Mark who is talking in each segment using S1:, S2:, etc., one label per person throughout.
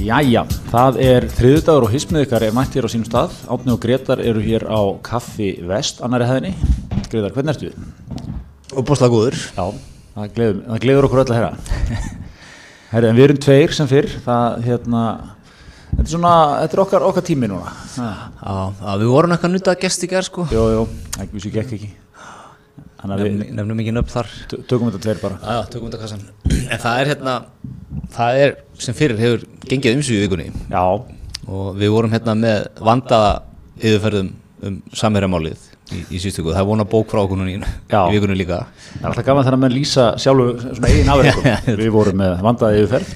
S1: Jæja, það er þriðudagur og hismið ykkar er mættir á sínum stað. Átni og Gretar eru hér á Kaffi Vest, annari hæðinni. Gretar, hvernig ertu?
S2: og bóstlega góður
S1: Já, það gleður, það gleður okkur öll að herra. Herri, en við erum tveir sem fyrr, það, hérna, þetta er svona, þetta er okkar, okkar tími núna. Ha.
S2: Já, já, við vorum eitthvað nutt að gest í gerð sko
S1: Jó, jó, ekki vissi gekk ekki. Þannig að við
S2: Nefn- Nefnum ekki nöfn þar
S1: tö- tökum þetta tveir bara.
S2: Já, já, tökum þetta kassan En það er hérna, það er sem fyrir hefur gengið umsvíu í vikunni
S1: Já,
S2: Og við vorum hérna með vandaða yfirferðum um samverðamálið í, í sístöku Það er vona bók frá okkur núna í,
S1: Já.
S2: í vikunni líka
S1: það er alltaf gaman þegar menn lýsa sjálfu svona eigin afreikum. við vorum með vandaði yfirferð.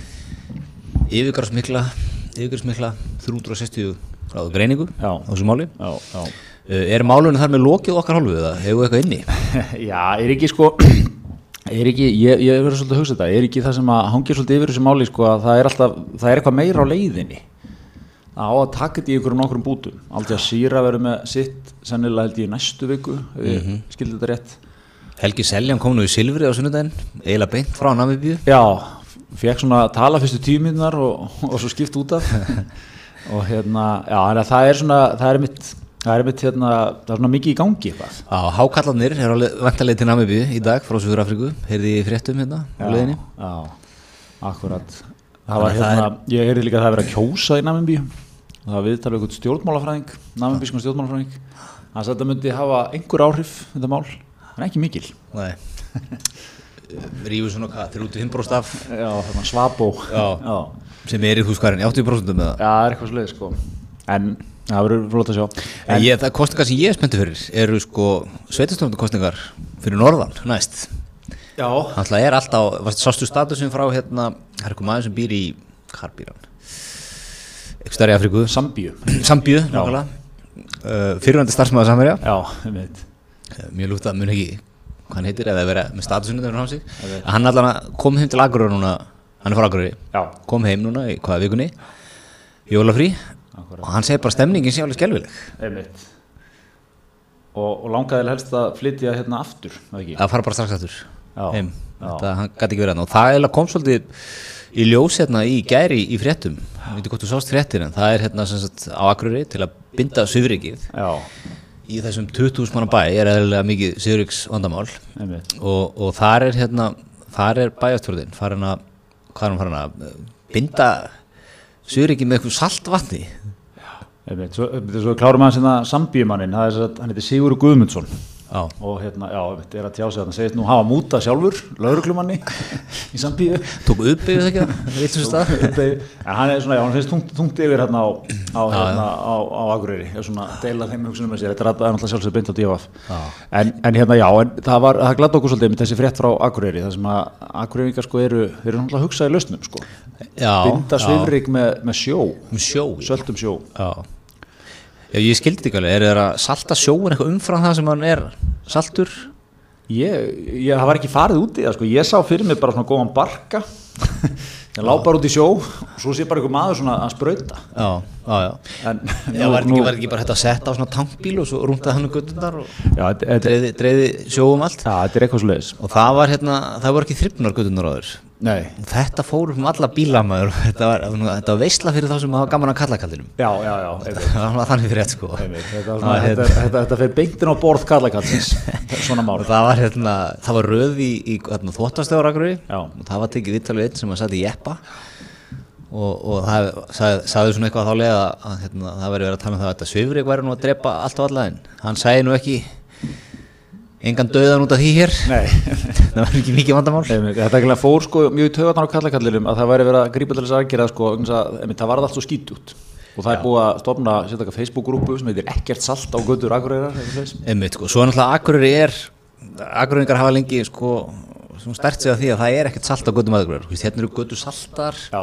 S2: Yfirgarsmikla, yfirgarsmikla, 360 gráðu greiningu
S1: Já.
S2: á þessu máli
S1: Já, já.
S2: Uh, Er málunum þar með lokið á okkar hálfu eða hefur eitthvað inni?
S1: Já, er ekki sko er ekki, ég, ég verður svolítið að hugsa þetta er ekki það sem að hangir svolítið yfir þessu máli sko að það er alltaf, það er eitthvað meira á leiðinni það á að taka þetta í einhverjum nokkrum bútum aldrei að síra verður með sitt sennilega held ég í næstu viku ef ég skildi þetta rétt
S2: Helgi Seljan kom nú í Silfri á sunnudaginn, eiginlega beint frá Namibíu.
S1: Já, fekk svona að tala fyrstu tíminnar og, og svo skipt út af og hérna, já, þannig að það er svona það er mitt, það er mitt hérna það er svona mikið í gangi eitthvað
S2: Á hákallarnir er alveg vantarlega til Namibíu í dag frá Suður-Afriku, heyrði ég í fréttum hérna á leiðinni.
S1: Já, akkurat Það var hérna, ég heyrði líka að það er verið að kjósa í Namibíu og það viðtalið eitthvað stjórnmálafræðing Namibískum stjórnmálafræðing þannig að þetta myndi hafa einhver áhrif þetta mál, en ekki mikil
S2: Nei. Rífur svona hvað, 35 bróst af
S1: Já, þannig að svabó
S2: Já.
S1: Já,
S2: sem er í húskarinn, 80 bróstum með það.
S1: Já, það er eitthvað sliðið sko En, það verður flott að sjá
S2: En ég, það kostningar sem ég er spenntið fyrir eru sko sveitastofnarkostningar fyrir norðan næst.
S1: Já,
S2: Þannig að er alltaf, varst, sástu statusum frá hérna, það er eitthvað maður sem býr í, hvað býr hann? Eitthvað stærri Afriku,
S1: Sambíu
S2: Sambíu, nákvæmlega. Uh, fyrirvændi starfsmæða samverja.
S1: Já, ég veit
S2: Eh, mjög lútt að mun ekki hvað hann heitir eða vera með statusunum þegar hann sig að hann allan að kom heim til Akureyri núna hann er frá Akureyri,
S1: Já.
S2: kom heim núna í hvaða vikunni jólafrí
S1: Akkúrat.
S2: og hann segir bara stemningin sé alveg skelvileg
S1: Einmitt. Og, og langaði helst að flytja hérna aftur, eða ekki?
S2: að fara bara strax aftur
S1: Já.
S2: heim
S1: Já.
S2: þetta hann gæti ekki verið hann og það eiginlega kom svolítið í ljós hérna í gæri í fréttum ég veit ekki hvort þú sást fréttir en það er hérna sem sagt á Akureyri til að binda Suðrikið
S1: Já,
S2: í þessum 20.000 manna bæ er eðlilega mikið Suðriks vandamál
S1: einmitt
S2: og, og þar er hérna þar er bæjarstjórnin farin að hvað er hann farin að binda Suðuríki með eitthvað saltvatni
S1: Einmitt, svo, einmitt, svo klárum aðeins hérna sambíumannin, það er þess að hann heiti Sigur Guðmundsson
S2: á
S1: og hérna, já, einmitt, er að tjá sig að hann segist nú hafa múta sjálfur, lauruglumanni í sambíu
S2: tók upp yfir það ekki það veitum við stað
S1: en hann er svona, já, hann finnst tungt, tungt yfir hérna á, á, hérna, á, á Akureyri er svona að deila þeim hugsunum með sér, þetta er alltaf- það er alltaf sjálfsög beint á DFF en, en hérna, já, en það var, það glatt okkur svolítið með þessi frétt frá Akureyri, það sem að Akureyringar sko eru, þeir eru náttúrulega að hugsa í lausnum sko,
S2: já,
S1: binda svifrik með, með sjó,
S2: um sjó já.
S1: söldum sjó
S2: já, ég skildi ekki alveg er það að salta sjóin eitthvað umfram það sem hann er saltur
S1: Ég, ég, það var ekki farið út í það sko, ég sá fyrir mig bara svona góðan barka, ég lá bara út í sjó og svo sé bara einhver maður svona að sprauta.
S2: já, já, já
S1: En,
S2: Já, var þetta ekki, var ekki bara hægt að setja á svona tankbíl og svo rúndaði hann um göttundar og
S1: Já, þetta- þetta
S2: dreiði, dreiði sjóum allt
S1: já, þetta er eitthvað svo leiðis.
S2: og það var hérna, það voru ekki þrifnar göttunar áður
S1: Nei.
S2: Og Þetta fór upp um alla bílamæður þetta var, þetta var veistla fyrir þá sem hafa gaman að kalla kallinum
S1: Já, já, já, einmitt,
S2: Það var þannig fyrir rétt sko
S1: einmitt. Þetta, var
S2: Það
S1: svona,
S2: var
S1: þetta,
S2: hérna-
S1: þetta, þetta, fer beintin á borð kallakatsins, svona mál.
S2: og það var hérna, það var röð í, í hérna, þóttastöðaragröði
S1: Já.
S2: og það var tekið vittalið einn sem að sæti jeppa og, og það sagði, sagði svona eitthvað þálega að, að hérna, það væri verið að tala um það að þetta svifrið væri nú að drepa allt og alla en hann sagði nú ekki engan döðan út af því hér
S1: Nei,
S2: það var ekki mikið vandamál
S1: einmitt, þetta ekki fór sko mjög í taugarnar á kallakallilum að það væri verið að grípa til þess aðgerða sko, vegna þess að, einmitt, það varð allt svo skýt út. Og það er búið að stofna sérstaklega Facebook-grúpu sem heitir Ekkert salt á götur Akureyrar, eitthvað leiðis.
S2: Einmitt, sko. Svo er náttúrulega Akureyri er Akureyringar hafa lengi sko, svona stert sig að því að það er ekkert salt á göttum Akureyri Þú veist, hérna eru göttu saltar
S1: Já.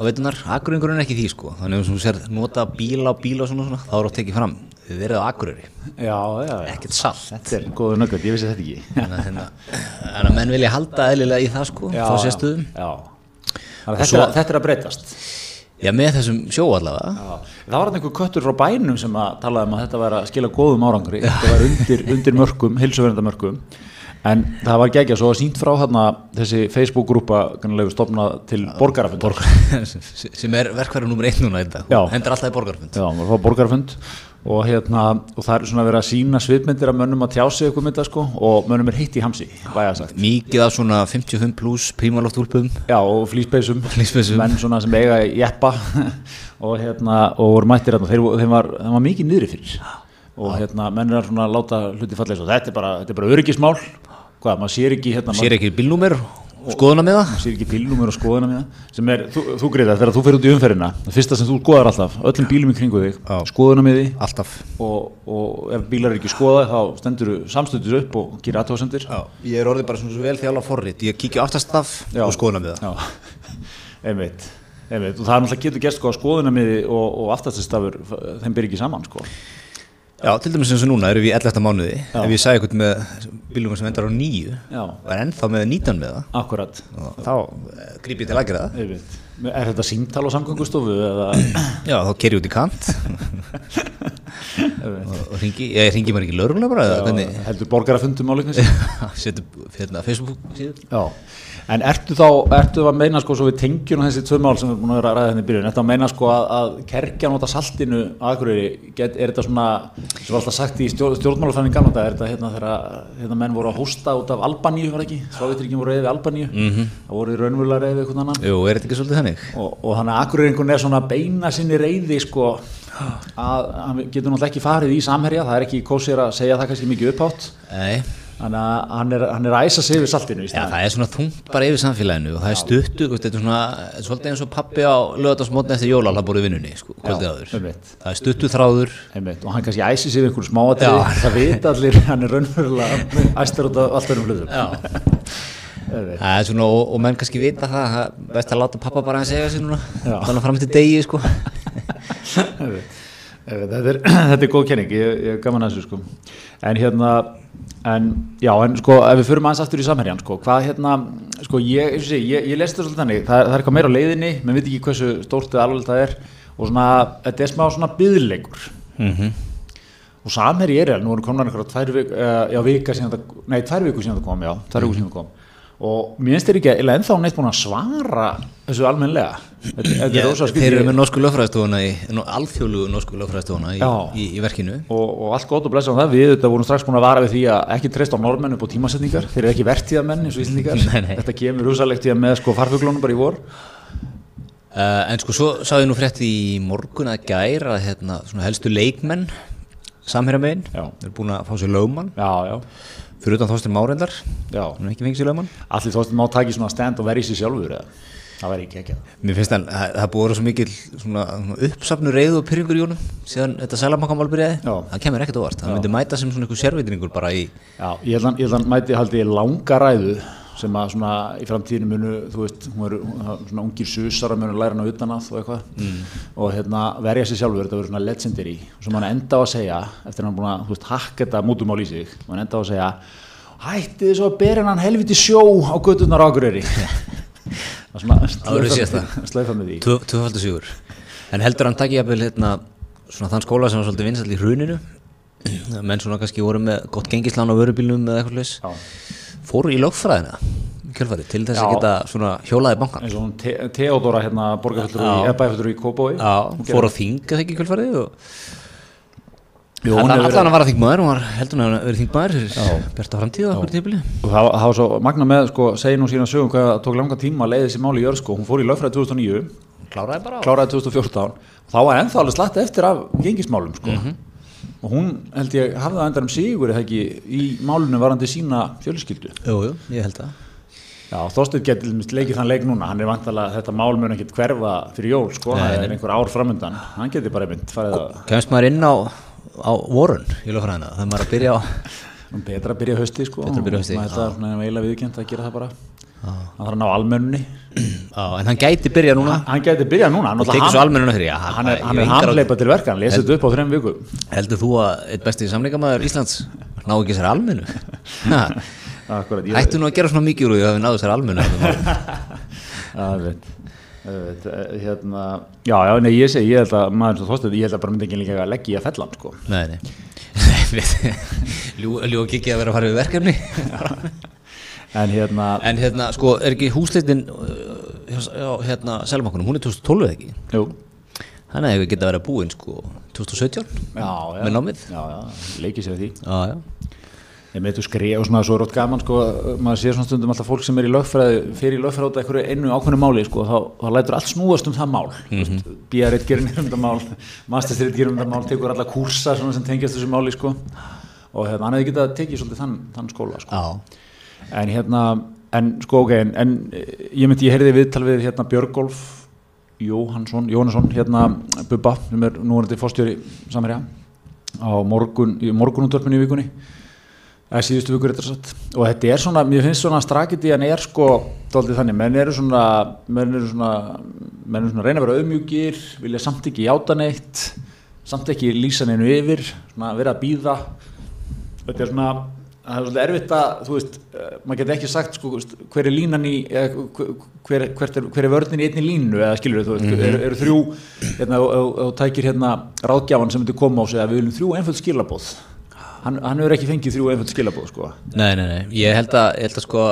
S2: og veitunar, Akureyringur er ekki því sko. þannig að þú sér nota bíla og bíla og svona, svona þá er oft tekið fram, við verðum á Akureyri
S1: Já, já, já.
S2: ekkert salt
S1: Þetta er góður nöggvöld, ég vissi þetta ekki.
S2: þannig að, hérna, þannig að menn vilja halda eðlilega í það sko, þá sérstuðum
S1: Já. Þannig að Þetta, er- þetta er að breytast.
S2: Já, með þessum sjó allavega
S1: Það var þarna einhver köttur frá bænum sem að talaði um að þetta væri að skila góðum árangri, þetta væri undir, undir mörgum, hilsuverndamörgum. en það var geggjað svo var sínt frá þarna þessi Facebook-grúpa kannarlegu stopnað til borgarafund Borgar.
S2: sem er verkverðum nummer einn núna í dag
S1: Já.
S2: Hún hendur alltaf í borgarfund
S1: já, maður fá borgarafund og, hérna, og það er svona verið að sína svipmyndir af mönnum að tjá sig eitthvað mynda sko, og mönnum er heitt í hamsi vægast sagt.
S2: mikið af svona 55 pluss prímaloftúlpum
S1: já, og flýspeysum
S2: Flíspeysum.
S1: menn svona sem eiga jeppa og hérna, og voru mættir hérna þeir, vo- þeim var, þeim var mikið niðri fyrir og hérna, menn er að svona láta hluti falla eins og þetta er bara, þetta er bara öryggismál hvað, maður sér ekki hérna
S2: sér ekki bílnúmer skoðuna með það
S1: maður sér ekki bílnúmer og skoðina mína sem er, þú, þú greiðar þegar þú fer út í umferðina það fyrsta sem þú skoðar alltaf, öllum bílum í kringu þig
S2: Já.
S1: skoðina miði
S2: alltaf
S1: og, og ef bílar er ekki skoðað þá stendur samstöndis upp og gerir aðtóðsendir
S2: Já, ég er orðið bara svona svo vel þjála forrið ég kíkja aftast af
S1: Já.
S2: og skoðuna með það
S1: Já, einmitt, einmitt. og það er náttúrulega getur gerst sko að skoðunamiði og, og aftastistafur þeim byrja ekki saman sko
S2: Já, til dæmis eins og núna erum við í 11. mánuði ef ég sagði eitthvað með bílnúmer sem endar á 9
S1: Já.
S2: og er ennþá með 19 með það
S1: akkurat,
S2: og þá eh, gríp ég til aðgerða
S1: einmitt er þetta símtal á samgöngustofu eða
S2: Já, þá ker ég út í kant
S1: einmitt.
S2: og, og ringi, ég ringi maður ekki lögurlega bara eða hvernig
S1: heldur borgarafundum á leiknis
S2: setur hérna Facebook síður
S1: Já, en ertu þá ertu að meina sko svo við tengjum þessi tvö mál sem við erum búin að vera að ræða hérna í byrjun ertu að meina sko að, að kerkja nota saltinu aðgröri, get, er þetta svona sem var alltaf sagt í stjór, stjórnmálafræðin gamla þetta er þetta hérna þegar hérna menn voru að hósta út af Albaníu var ekki, Sovjetríkin voru reyði Albaníu -hmm. það voru raunvöla reyði eitthvað annan
S2: Jú, er þetta ekki svolítið þannig?
S1: og, og þannig að Akureyringun er svona að beina sinni reyði sko að hann getur náttúrulega ekki farið í samherja það er ekki kósir að segja það kannski mikið upphátt
S2: Nei,
S1: þannig að hann er, hann er að æsa sig við saltinu í
S2: Já,
S1: staðinn.
S2: það er svona þungt bara yfir samfélaginu og það er stuttu, veist, þetta er svona þetta er svolítið eins og pappi á lögadagsmótni eftir jóla hann búið vinnunni, sko, kvöldið áður
S1: einmitt.
S2: það er stuttu þráður
S1: Einmitt, og hann kannski æsir sig við einhverju smáatrið
S2: Já.
S1: það vita allir, hann er raunverulega æstur út af allt örum hlutum Einmitt.
S2: það er svona, og, og menn kannski vita það það er best að láta pappa bara að segja sér núna
S1: Já.
S2: þannig fram til degi sko.
S1: Einmitt. Einmitt, þetta, er, þetta er góð kenning ég, ég er gaman að þessu sko en hérna en, já, en sko, ef við förum aðeins aftur í samherjan sko, hvað hérna, sko, ég, ég, ég, ég lest það svolítið þannig, það, það er eitthvað meira á leiðinni menn veit ekki hversu stórt eða alveg það er og svona, þetta er smá svona byðleikur
S2: Mhm.
S1: og samherji er eða, nú eru komnar einhverja tvær vik, uh, já, vika síðan það, nei, tvær viku síðan það kom, já, tvær viku síðan það kom og mér finnst þeir ekki, eða ennþá neitt búin að svara þessu almennlega þetta, þetta er rosa
S2: þeir
S1: skrítið
S2: eru með norsku lögfræðstofuna í, no, alþjóðlugu norsku lögfræðstofuna í,
S1: Já.
S2: í, í verkinu
S1: og, og allt gott og blessa um það, við þetta vorum strax búin að vara við því að ekki treyst á normenn upp á tímasetningar þeir eru ekki vertíðamenn eins og
S2: Nei,
S1: íslendingar
S2: nei.
S1: þetta kemur húsalegt í að með sko farfuglónum bara í vor
S2: uh, en sko, svo sá ég nú frétt í morgun að gær að hérna, svona helstu leikmenn samherjamegin,
S1: Já.
S2: er búin að fá sér lögmann
S1: já, já,
S2: fyrir utan Þorstin Márendar
S1: já
S2: hann er ekki fengið sér lögmann
S1: allir þóttum má taki svona stand og verið sér sjálfur eða það væri ekki ekki
S2: Mér finnst hann, það það búið að vera svo mikil svona, svona uppsafnu reyðu og pyrringur í honum síðan þetta sælabankamál byrjaði,
S1: Já.
S2: það kemur ekkert óvart hann myndi mæta sem svona einhver sérvitringur bara í
S1: Já, ég held að- ég held að hann mæti haldi í langa ræðu sem að svona í framtíðinu munu, þú veist, hún er svona ungir susara munu læra hann á utanað og eitthvað
S2: Mm.
S1: og hérna verja sér sjálfur, þetta verður svona legendary og svo hann enda á að segja, eftir að hann búin að, þú veist, hakka þetta mútumál í sig, hann enda á að segja hætti þið svo að bera hann helviti sjó á gödurnar á Akureyri og svona
S2: Árið síðasta.
S1: slöfa með því
S2: tvöfaldu sigur en heldur hann takk ég að byrja hérna svona þann skóla sem var svolítið vinsall í hruninu menn svona kannski voru með gott gengislán á vörubílnum eða eitthvað leis
S1: Já.
S2: fóru í lögfræðina í kjölfarið til þess
S1: Já.
S2: að geta svona hjólaði bankan
S1: eins og hún Te Teodora hérna borgarfjöldur í, bæfjöldur í Kópói
S2: Já, fóru á þing eða ekki í kjölfarið og
S1: Jú,
S2: Alla-
S1: hún hefur-
S2: allan að vara þingmaður, hún var heldur hann að vera þingmaður fyrir Berta framtíða okkur tífili
S1: Og það, það var svo magna með, sko, segi nú sína sögum hvað það tók langa tíma að leiði þessi máli í jörg, sko. Hún fór í lögfræði 2009,
S2: kláraði bara á
S1: kláraði 2014 og þá var ennþá alveg slatt eftir af gengismálum, sko.
S2: Mhm.
S1: Og hún, held ég, hafði það endar um sigur, eða ekki, í málunum varandi sína fjölskyldu.
S2: Jú, jú, ég held að
S1: Já, Þorsteinn getur mist leikið þann leik núna, hann er vantalega, þetta mál mun ekkert hverfa fyrir jól, sko, það er einhver ár framöndan, hann getur bara mynd, farið að,
S2: Kemst maður inn á, á vorun í lögfræðina þegar maður er að byrja á
S1: um betra að byrja hausti, sko,
S2: Betra að byrja hausti,
S1: maður þetta er svona eiginlega viðurkennt að gera það bara, hann þarf að ná almennunni,
S2: á, En hann gæti byrja núna
S1: hann getur byrjað núna, hann
S2: og
S1: náttúrulega-
S2: tekið svo almennuna fyrir já,
S1: hann er,
S2: ég
S1: hann er
S2: hef engar áhyggjur.
S1: handleipa til verka, hann lesið þetta upp á þrejum vikum
S2: Heldur þú að eitt besti samlingamæður Íslands ná ekki sér almennu? Ha,
S1: Akkurat, ég,
S2: Hættu nú að gera svona mikið úr því að við náðu sér almennu
S1: að, veit, að, veit, eh, hérna, já, já, nei, ég segi, ég held að maður svo þóstið, ég held að bara myndi ekki líka að leggja í að fella hann, sko
S2: Nei, nei Ljúk ekki að vera að fara við verkefni
S1: en hérna,
S2: En hérna, sko, er ekki húsleitin uh, hérna, Selmakunum, hún er 2012 eða ekki
S1: jú
S2: Þannig að við geta verið að búin, sko, 2017
S1: já, já.
S2: Með námið?
S1: já, já, leikið sér að því
S2: Já, já
S1: Ég með þú skrifa og svona, svo er rátt gaman sko, maður sér svona stundum alltaf fólk sem er í lögfræði fyrir í lögfræði út af einhverju einu ákveðnu máli sko, þá, þá lætur allt snúast um það mál mm -hmm. BR1 gerir um það mál Masterstrid gerir um það mál, tekur alla kursa svona sem tengjast þessu máli sko og hérna, hann hefði getað tekið svolítið þann, þann skóla sko.
S2: Já,
S1: en hérna, en sko ok en, en eh, ég myndi, ég heyrði viðtal við hérna Björgolf Jóhansson, Jóhannesson, hérna Bubba sem er núverandi fórstjóri samherja á morgun, í morgunúndörpinu í vikunni eða síðustu vikur þetta satt og þetta er svona, mér finnst svona strakiti en er sko, daldið þannig, menn eru svona menn eru svona, menn eru svona að reyna að vera auðmjúkir, vilja samt ekki játa neitt, samt ekki lýsa neinu yfir, svona vera að býða þetta er svona það er svolítið erfitt að, þú veist eh, maður getur ekki sagt, sko, þú veist, hver er línan í eða hver, hver, hvert er, hver er vörnin í einni línu, eða skilur þú veist, eru, eru þrjú hérna, og- og og tækir hérna ráðgjafan sem myndi koma á sig að við viljum þrjú einföld skilabóð hann, hann hefur ekki fengið þrjú einföld skilabóð, sko
S2: Nei, nei, nei, ég held að, ég held að sko,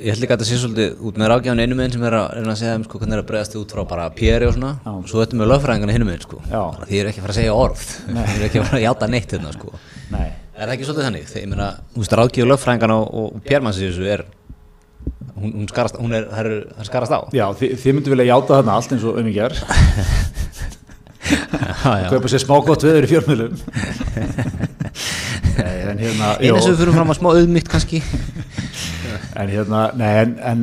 S2: ég held líka að þetta sé svolítið út með rákjáðan einu meginn sem er að reyna að segja um sko hvernig er að bregðast þið út frá bara PR og svona
S1: Já.
S2: og svo þetta með lögfræðingana hinu meginn sko
S1: Já.
S2: Bara því eru ekki að fara að segja orð, því eru ekki að fara að játa neitt hérna sko
S1: Nei,
S2: Er það ekki svolítið þannig? Þegar ég meina, þú veist, rákjáðu lögfræðingana og, og PR manns í þessu er, hún, hún skarast, hún er, það er, það skarast á
S1: já, þi, þið myndu vilja játa þarna allt eins og um ekki er
S2: Já, já
S1: kaupa sér smágótt veður í fjörmjölum Nei, en hérna
S2: Einn
S1: jú,
S2: þessu við fyrir fram að smá auðmygt kannski
S1: en hérna, nei, en, en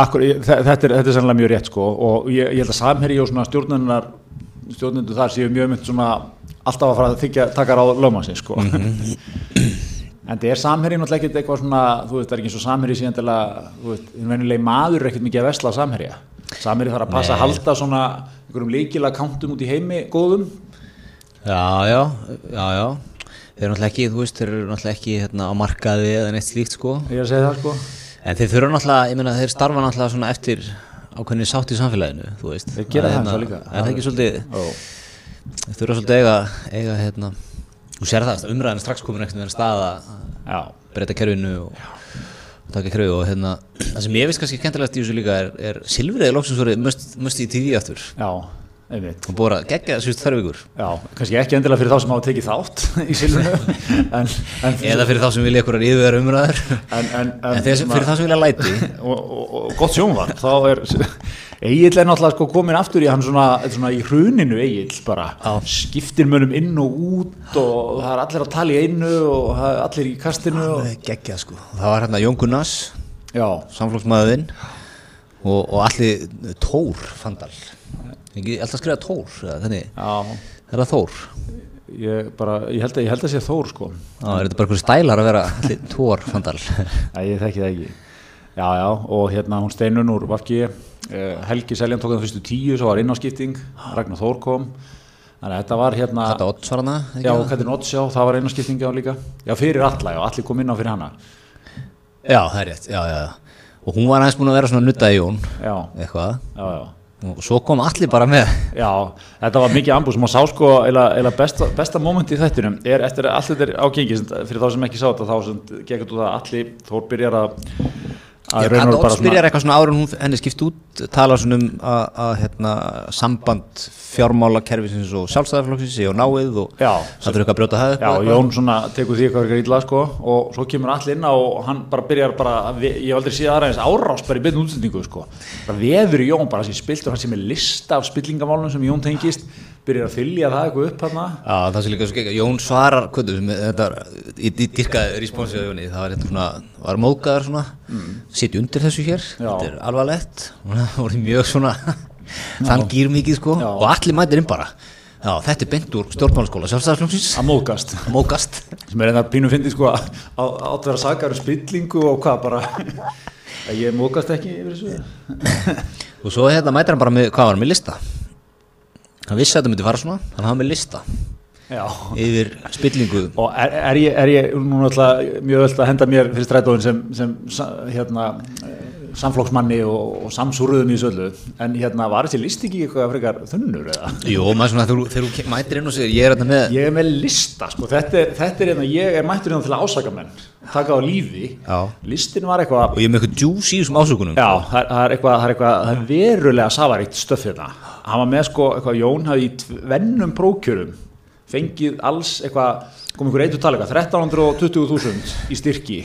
S1: akkur, ég- þe- þetta er, þetta er sannlega mjög rétt sko og ég, ég held að samherji og svona stjórnunar stjórnundu þar séu mjög mynd svona alltaf að fara að þykja taka ráð lögmannsins sko En það er samherji náttúrulega ekkert eitthvað svona, þú veist, það er ekki eins og samherji síðan til að, þú veist, hinn venjulegi maður er ekkert mikið að vesla á samherja. Samherji þarf að passa að halda svona einhverjum líkilega kantum út í heimi góðum.
S2: Já, já, já, já Þeir eru náttúrulega ekki, þú veist, þeir eru náttúrulega ekki hérna, á markaði eða neitt slíkt sko
S1: Ég er að segja það sko.
S2: En þeir þurfa náttúrulega, ég meina þeir starfa náttúrulega svona eftir ákveðinni sátt í samfélaginu, þú veist.
S1: Þeir gera það
S2: hérna,
S1: ennþá líka.
S2: Er það ekki svolítið,
S1: Ó.
S2: þeir þurfa svolítið eiga, eiga hérna, þú sér það, umræðan er strax komin ekkert með enn stað að
S1: Já,
S2: breyta kerfinu og, og taka kerfið og hérna, það sem ég veist kannski kentilegt í þessu líka er, er silfriði lóksins voru must í TV aftur.
S1: já, einmitt
S2: Og búið að gegja þessu þær vikur.
S1: Já, kannski ekki endilega fyrir þá sem hafa tekið þátt í silfurinu en, en,
S2: Eða fyrir þá sem vilja ykkur að yfirvera umræður.
S1: en, en,
S2: En þeir, sem- fyrir þá sem vilja læti.
S1: og, og, og gott sjónvarp þá er Egil er náttúrulega sko komin aftur í hann svona, þetta er svona í hruninu Egil bara,
S2: Já.
S1: skiptir mönnum inn og út og það er allir að tala í einu og það er allir í kastinu og,
S2: Gegja sko. Það var hérna Jón Gunnars
S1: Já,
S2: samflokksmaðurinn og, og allir Tór Fandal ekki alltaf skrifa Tór eða hvernig,
S1: já
S2: er það Þór
S1: ég, bara, ég, held að, ég held að sé Þór sko
S2: Á, er þetta bara einhver stælar að vera allir Tór Fandal
S1: Nei, ég þekki það ekki. Já, já, og hérna hún steinun úr Vafki, eh, Helgi Seljan tók það fyrstu tíu, svo var innáskipting, Ragnar Þór kom, þannig að þetta var hérna,
S2: þetta Oddsvarana
S1: já, Katrin Oddsjá, það var innáskipting á líka, já, fyrir alla, já, allir kom inn á fyrir hana,
S2: já, það er rétt já, já. já. og hún var aðeins búin að vera svona nuttaði Jón
S1: já,
S2: eitthvað
S1: já, já.
S2: og svo kom allir bara með
S1: Já, þetta var mikið ambús, maður sá sko eila, eila besta, besta moment í þættinum er eftir að allt þetta er ágengið, sem- fyrir þá sem ekki sá þetta þá sem gekk út á það að allir Þór byrjar að, að raun
S2: Ég
S1: og
S2: kann
S1: veru bara
S2: Odds byrjar eitthvað svona árun hún henni skipt út tala svona um að, að hérna, samband fjármálakerfisins og sjálfstæðarflokksins og náið og
S1: Já.
S2: það fyrir eitthvað að brjóta það upp
S1: Já,
S2: og eitthvað.
S1: Jón svona tekur því eitthvað eitthvað illa sko og svo kemur allir inn á og hann bara byrjar bara, að ve- ég hef aldrei séð aðra eins árás bara í byrjun útsendingu sko bara veður í Jón bara sem spiltur hann sem er lista af spillingamálunum sem Jón tengist byrjar að þylja það eitthvað upp hann
S2: Já, það sé líka svo gegg Jón svarar, hvernig sem þetta var ég dý- dýrkaði responsið á Jóni það var hérna svona, var mókaður svona mm. undir þessu hér, þetta er alvarlegt og það voru mjög svona þann gýr mikið sko
S1: Já.
S2: og allir mætir inn bara Já, þetta er beint úr stjórnmálaskóla sjálfstæðarslóksins
S1: að móðgast
S2: mókast
S1: sem er einnig að pínu fyndi sko að að- átt að vera sakar um spillingu og hvað bara að ég móðgast ekki yfir þessu
S2: og svo hérna mætir hann bara með, hvað var hann með lista hann vissi að þetta myndi fara svona hann hafði með lista
S1: Já
S2: yfir spillingu
S1: Og er, er, ég, er ég núna alltaf mjög öll að henda mér fyrir strætóin sem, sem sa- hérna, eh, samflokksmanni og, og samsúruðum í þessu öllu en hérna var þessi list ekki eitthvað frekar þunnur eða?
S2: Jú, maður svona þegar þú- þegar þú ke- mætir inn og segir ég er hérna með
S1: Ég er með lista sko, þetta er, þetta er hérna, ég er mættur hérna til að ásaka menn, taka á lífi
S2: Já.
S1: listin var eitthvað
S2: og ég er með eitthvað djús í þessum ásökunum
S1: Já, það er, það er eitthvað, það er eitthvað, það er verulega safaríkt stöf hérna. Hann var með sko, eitthvað, Jón hafði í tvennum prókjörum fengið alls eitthvað, kom einhver eitt og tala eitthvað, 1320.000 í styrki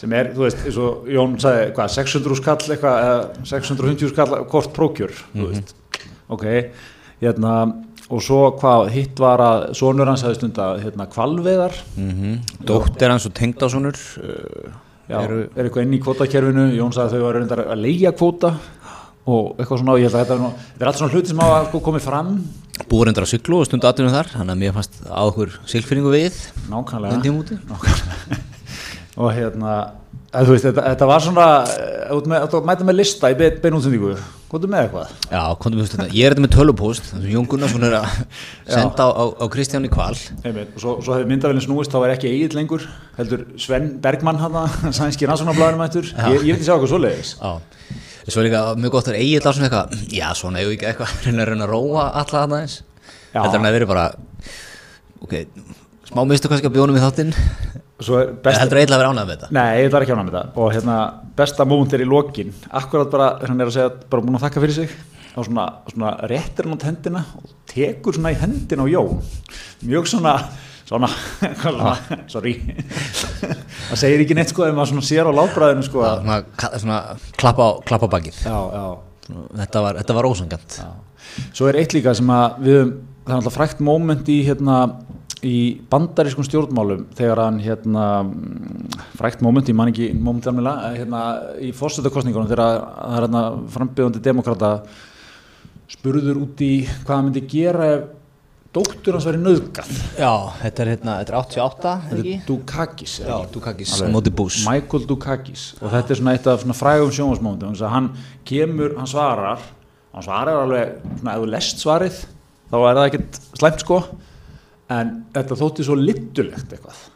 S1: sem er, þú veist, eins og Jón sagði, hvað, 600 skall eitthvað, eða 650 skall kort prókjör, þú veist, ok, hérna, og svo hvað, hitt var að sonur hans hafði stundað, hérna, kvalveðar,
S2: Mhm. Dóttir hans og tengdásonur uh,
S1: Já, er eitthvað inn í kvotakerfinu, Jón sagði að þau var reyndar að leigja kvota og eitthvað svona, og ég held að þetta er, nú- þetta er allt svona hluti sem hafa sko komið fram,
S2: búið reyndar á syklu og stundu aðtunum þar þannig að mér fannst á okkur silfyrningu við
S1: nákvæmlega,
S2: þann tíma úti
S1: og hérna, að, þú veist, þetta, þetta var svona, eh, út með, þú mæta með lista í be- bein útsendingu, hvað er með eitthvað?
S2: Já, komdu með þetta, ég er þetta með tölupóst þar sem Jón Gunnarsson er að senda á, á, á Kristján í kval
S1: Einmitt, og svo, svo hefði myndavælinn snúist, þá er ekki eigið lengur, heldur Sven Bergmann hann, sænski rannsóknarblæðinu mættur, ég, ég veit ekki sjá eitthvað svoleiðis.
S2: Já, svo er líka mjög gott að Egil Larsson eitthvað, já svona eigum við ekki eitthvað reyna að reyna að róa alla þarna eins
S1: Já.
S2: Þetta er hann að vera bara ok, smá mistu kannski að bjónum í þáttinn
S1: Svo er
S2: Best.
S1: best
S2: heldur Egil að vera ánað með þetta
S1: Nei, þetta er ekki ánægð með þetta og hérna, besta moment er í lokin akkurat bara, hérna, hann er að segja, bara búin að þakka fyrir sig og svona, svona réttir hann út hendina og tekur svona í hendina á Jón mjög svona svona, hvað er það, sorry það segir ekki neitt sko ef maður svona sér á lábræðinu sko já,
S2: svona, ka- svona klappa á, klappa á bakið
S1: já,
S2: Þetta var, þetta var ósangjönd
S1: já svo er eitt líka sem að við höfum það er alltaf frækt moment í hérna í bandarískum stjórnmálum þegar hann hérna mm, frækt moment, ég man ekki moment alveg hérna í fórstöðakostningunum þegar það er hérna frambjöðandi demokrata spurður út í hvað hann myndi gera ef dóttur hans væri nöðgat
S2: Já, þetta er hérna, þetta er 88 er ekki?
S1: Dukakis er
S2: Já,
S1: ekki?
S2: Dukakis,
S1: Alveg.
S2: móti Bush.
S1: Michael Dukakis og þetta er svona eitt af svona frægum sjónvarsmóndum hann kemur, hann svarar hann svarar alveg, svona ef þú lest svarið þá er það ekkert slæmt sko en þetta þótti svo littulegt eitthvað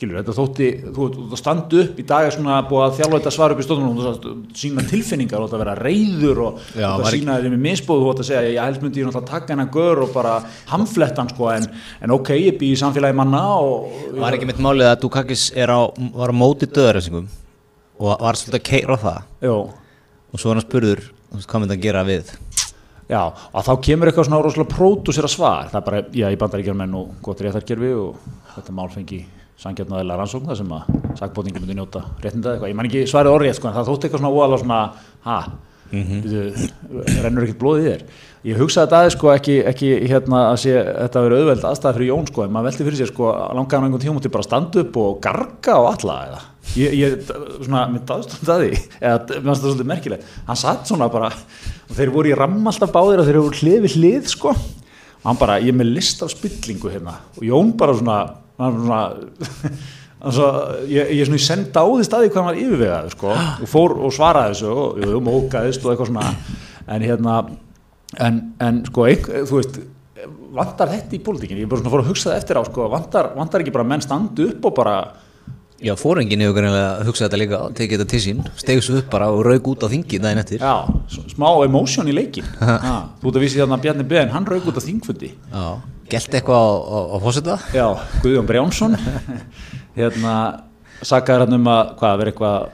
S1: skilur, þetta þótti, þú þú- þú standu upp í dag er svona búið að þjálfa þetta svar upp í stóðunum þú þarft að sína tilfinningar, þú átt að vera reyður og þú átt
S2: Já, var
S1: að
S2: ekki-
S1: sína þeim í misbóðu, þú átt að segja ég held myndi ég náttúrulega taka hennan gör og bara hamflettan sko, en, en ok, ég bý í samfélagi manna og
S2: Var ekki mitt málið að Dukakis er á, var á móti döðarreysingum og var svolítið að keira á það
S1: Jó,
S2: og svo var hann spurður, þú veist, hvað myndi að gera við
S1: já, og þá kemur eitthvað svona rosalega pródúsir að svar, það er bara, já, ég bandar ekki menn og gott réttarkerfi og þetta mál fengi sangjarnæðilega rannsókn þar sem að sakbótingum myndi njóta réttinda eða eitthvað, ég man ekki svarið orðið sko, en það þótti eitthvað svona óalega svona, ha, mm rennur ekkert blóðið í þér. Ég hugsaði þetta aðeins sko ekki, ekki hérna að sé þetta að vera auðveld aðstæða fyrir Jón sko, en maður velti fyrir sér sko langaðan einhvern tíma til bara að standa upp og garga á alla eða. Ég, ég svona, mér dáðst um það því, eða mér fannst það svolítið merkilegt. Hann satt svona bara, og þeir voru í ramm alltaf báðir og þeir voru hlið við hlið sko, og hann bara, ég er með list af spillingu hérna, og Jón bara svona, hann svona, hann svo, ég, ég svona, ég senda á því staði hvað hann var yfirvegaður sko, og fór og svaraði þessu og, og mókaðist og eitthvað svona, en hérna, en, en sko, ein, þú veist, vantar þetta í pólitíkinni, ég er bara svona fór að hugsa það eftir á, sko, vantar, vantar ekki bara að menn standu upp og bara,
S2: Já, fóringin hefur greinlega hugsað þetta líka og tekið þetta til sín, stegið svo upp bara og rauk út á þingi daginn eftir.
S1: já, s- smá emotion í leikin, ha, þú ert að vísi þarna að Bjarni Ben, hann rauk út af þingfundi,
S2: Já. Gelt eitthvað á, á, á fósita?
S1: já, Guðjón Brjánsson, hérna, sakaði hann um að, hvað, vera eitthvað,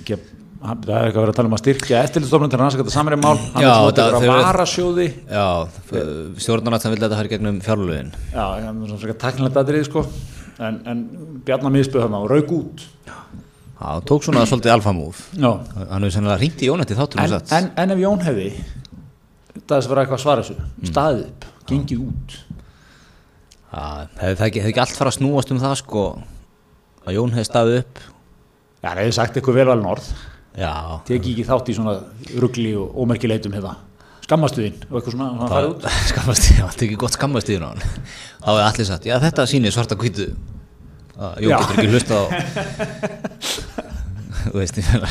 S1: ekki, hann, það er eitthvað að vera að tala um að styrkja eftirlitstofnun til að rannsaka þetta samverjumál, hann
S2: Já,
S1: er svona
S2: það-
S1: að
S2: þau
S1: vera
S2: eru-
S1: varasjóði,
S2: Já, stjórnarnátt sem vildi að þetta færi gegnum fjárlögin.
S1: já, hann er svona frekar tæknilegt aðrið, sko, en, en Bjarni miðspöð hann á, rauk út,
S2: Já, hann tók svona svolítið alfamúf.
S1: já,
S2: Hann hefur sennilega ringt í Jónætti þáttur og
S1: en,
S2: sagt.
S1: en, en ef Jón hefði það er sem vera eitthvað að svara þessu
S2: Mm.
S1: staðið upp, gengið út
S2: Já, hefði það ekki, hefði ekki allt fara að snúast um það sko, að Jón hefði staðið upp.
S1: já, það hefði sagt eitthvað velvalin orð
S2: Já,
S1: tekið ekki þátt í svona ruggli og ómerkileitum hérna, skammastu þín og eitthvað svona, svona farið út
S2: skammast, það var ekki gott skammast yfir hann. Þá hefði allir sagt, já þetta sýnir svarta kvítu. Að Jón
S1: Já.
S2: getur ekki hlusta á... Þú veist, ég meina...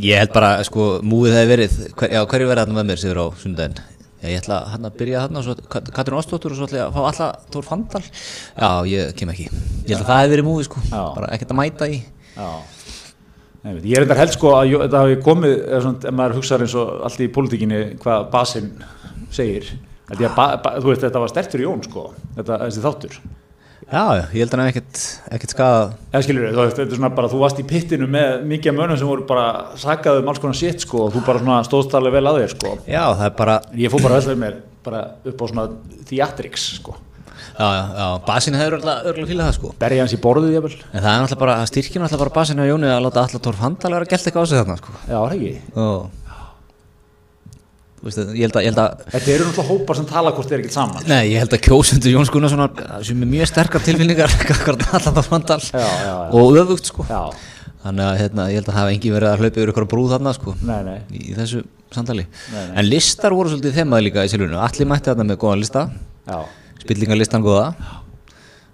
S2: Ég held bara, sko, múið hefði verið, hver, já hverju verið þarna með mér sigur á sundaginn? Já, ég ætla hann að byrja þarna og svo Kat- Katrín Ástóttur og svo ætla ég að fá alla Þór Fandal. Já, ég kem ekki. Ég held að það hefði verið múið, sko,
S1: Já.
S2: bara ekkert að mæta í.
S1: já, Einmitt. Ég er þetta held sko að jú- þetta hafi komið, ef, svona, ef maður hugsaður eins og allt í pólitíkinni hvað basinn segir, held ég að, ba, ba, þú veist, þetta var stertur Jón sko, þetta, þessi þáttur.
S2: Já, ég held að hann hafi ekkert, ekkert skadað
S1: Eða skilur þú, veist, þetta er svona bara, þú varst í pittinu með mikið af mönum sem voru bara sakaðu um alls konar sitt sko og þú bara svona stóðst alveg vel að þér sko.
S2: Já, það er bara,
S1: Ég fór bara vel með mér, bara upp á svona theatrics sko.
S2: já, já, já basin hefur örgulega fílað það sko
S1: Berja hans í borðið jafnvel.
S2: En það er náttúrulega bara, það styrkir náttúrulega bara basin á Jóni að láta allar Torf Handal vera að gælt eitthvað á sig þarna sko
S1: Já, var það ekki.
S2: Og, þú veist, ég held að, ég held að
S1: Þetta eru náttúrulega hópar sem tala hvort þeir ekkert saman.
S2: Nei, ég held að kjósundur Jóns Gunnarssonar sem er mjög sterkar tilfinningar akkvart allan þá mandal
S1: Já, já, já.
S2: og öfugt sko
S1: Já,
S2: þannig að hérna, ég held að hafa engi verið að hlaupa yfir ykkur brú þarna sko
S1: nei, nei.
S2: í, í þessu samtali en listar voru svolítið þemað líka í silfurinu allir mætti þarna með góðan lista
S1: Já,
S2: spillingarlistan góða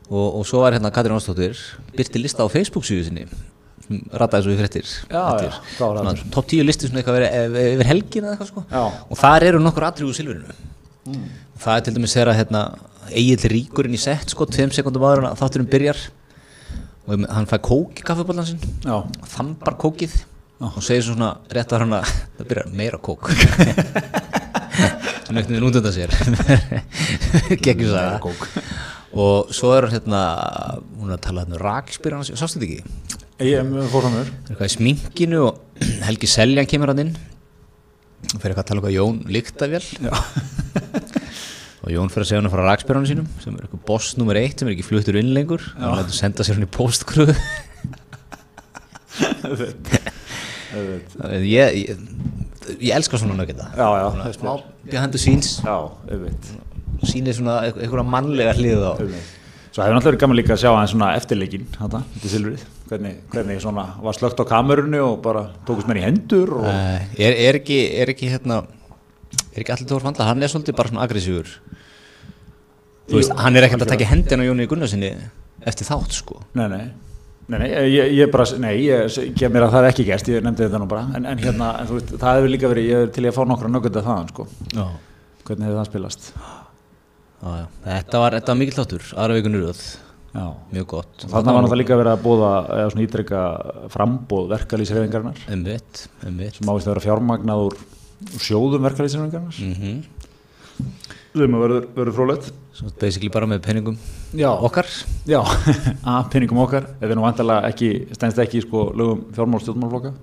S2: og, og svo var hérna Katrín Ástóttir byrti lista á Facebook síðu sinni sem rataði svo í fréttir
S1: Já, já, hvað var það
S2: Svona topp 10 listi svona eitthvað verið e- yfir helgina eða eitthvað sko
S1: Já. Mm.
S2: og þar eru nokkur atrið úr silfurinu það er til dæmis þegar að hérna, Egil Ríkurinn í sett sko 2 sekundum áður en að þátturinn byrjar og hann fær kók í kaffiballan sinn
S1: já.
S2: þambar kókið og segir svo svona rétt að hann að það byrjar meira kók hann auknir út undan sér geggjum
S1: Meira
S2: það
S1: kók.
S2: og svo er hann hérna hún er að tala hérna um rakspyr hans sástu þetta ekki,
S1: Ég fór fram mér.
S2: það er eitthvað í sminkinu og Helgi Seljan kemur hann inn og fer eitthvað að tala um hvað Jón líkta vel og Jón fer að segja hann að fara rakspyrunum sínum sem er eitthvað boss nummer eitt sem er ekki fluttur inn lengur hann lætur senda sér hann í póstgröðu
S1: Auðvitað.
S2: ég, ég, ég elska svona nöggeta
S1: Já, já, þess
S2: smá behind the scenes
S1: Já, auðvitað.
S2: sýnir svona einh- einhverja mannlega hlið á
S1: auðvitað. Svo hefur náttúrulega verið gaman líka að sjá aðeins svona eftirleikin, þetta, þetta silfrið, hvernig, hvernig svona var slögt á kamerunni og bara tókust menn í hendur og...
S2: uh, er, er ekki er ekki hérna er ekki allir Þór Fandla, hann er svolítið bara svona aggressífur þú veist, hann er ekkert að taka hendina á Jóni Gunnarsinni eftir þátt sko
S1: Nei, nei, nei, nei, ég, ég bara, nei, ég gef mér að það er ekki gæst, ég nefndi þetta nú bara, en, en hérna, en, þú veist, það hefur líka verið, ég hefur til í að fá nokkra nöggönda þaðan, sko,
S2: já,
S1: hvernig hefur það spilast?
S2: já, þetta var, þetta var mikil þáttur aðra vikun röð,
S1: Já.
S2: mjög gott
S1: Þannig var náttúrulega líka verið að bóða, eða svona ítreka frambóð verkalýsreifingarinnar,
S2: einmitt, einmitt
S1: sem ávist að vera fjármagnað úr, úr sjóðum verkalýsreifingarinnar,
S2: mm
S1: sem að verður, verður frólætt.
S2: svo basically bara með peningum
S1: Já,
S2: okkar
S1: já, að peningum okkar, þetta er nú vantarlega ekki, stendst ekki, í, sko, lögum fjármálstjórnmálflokka.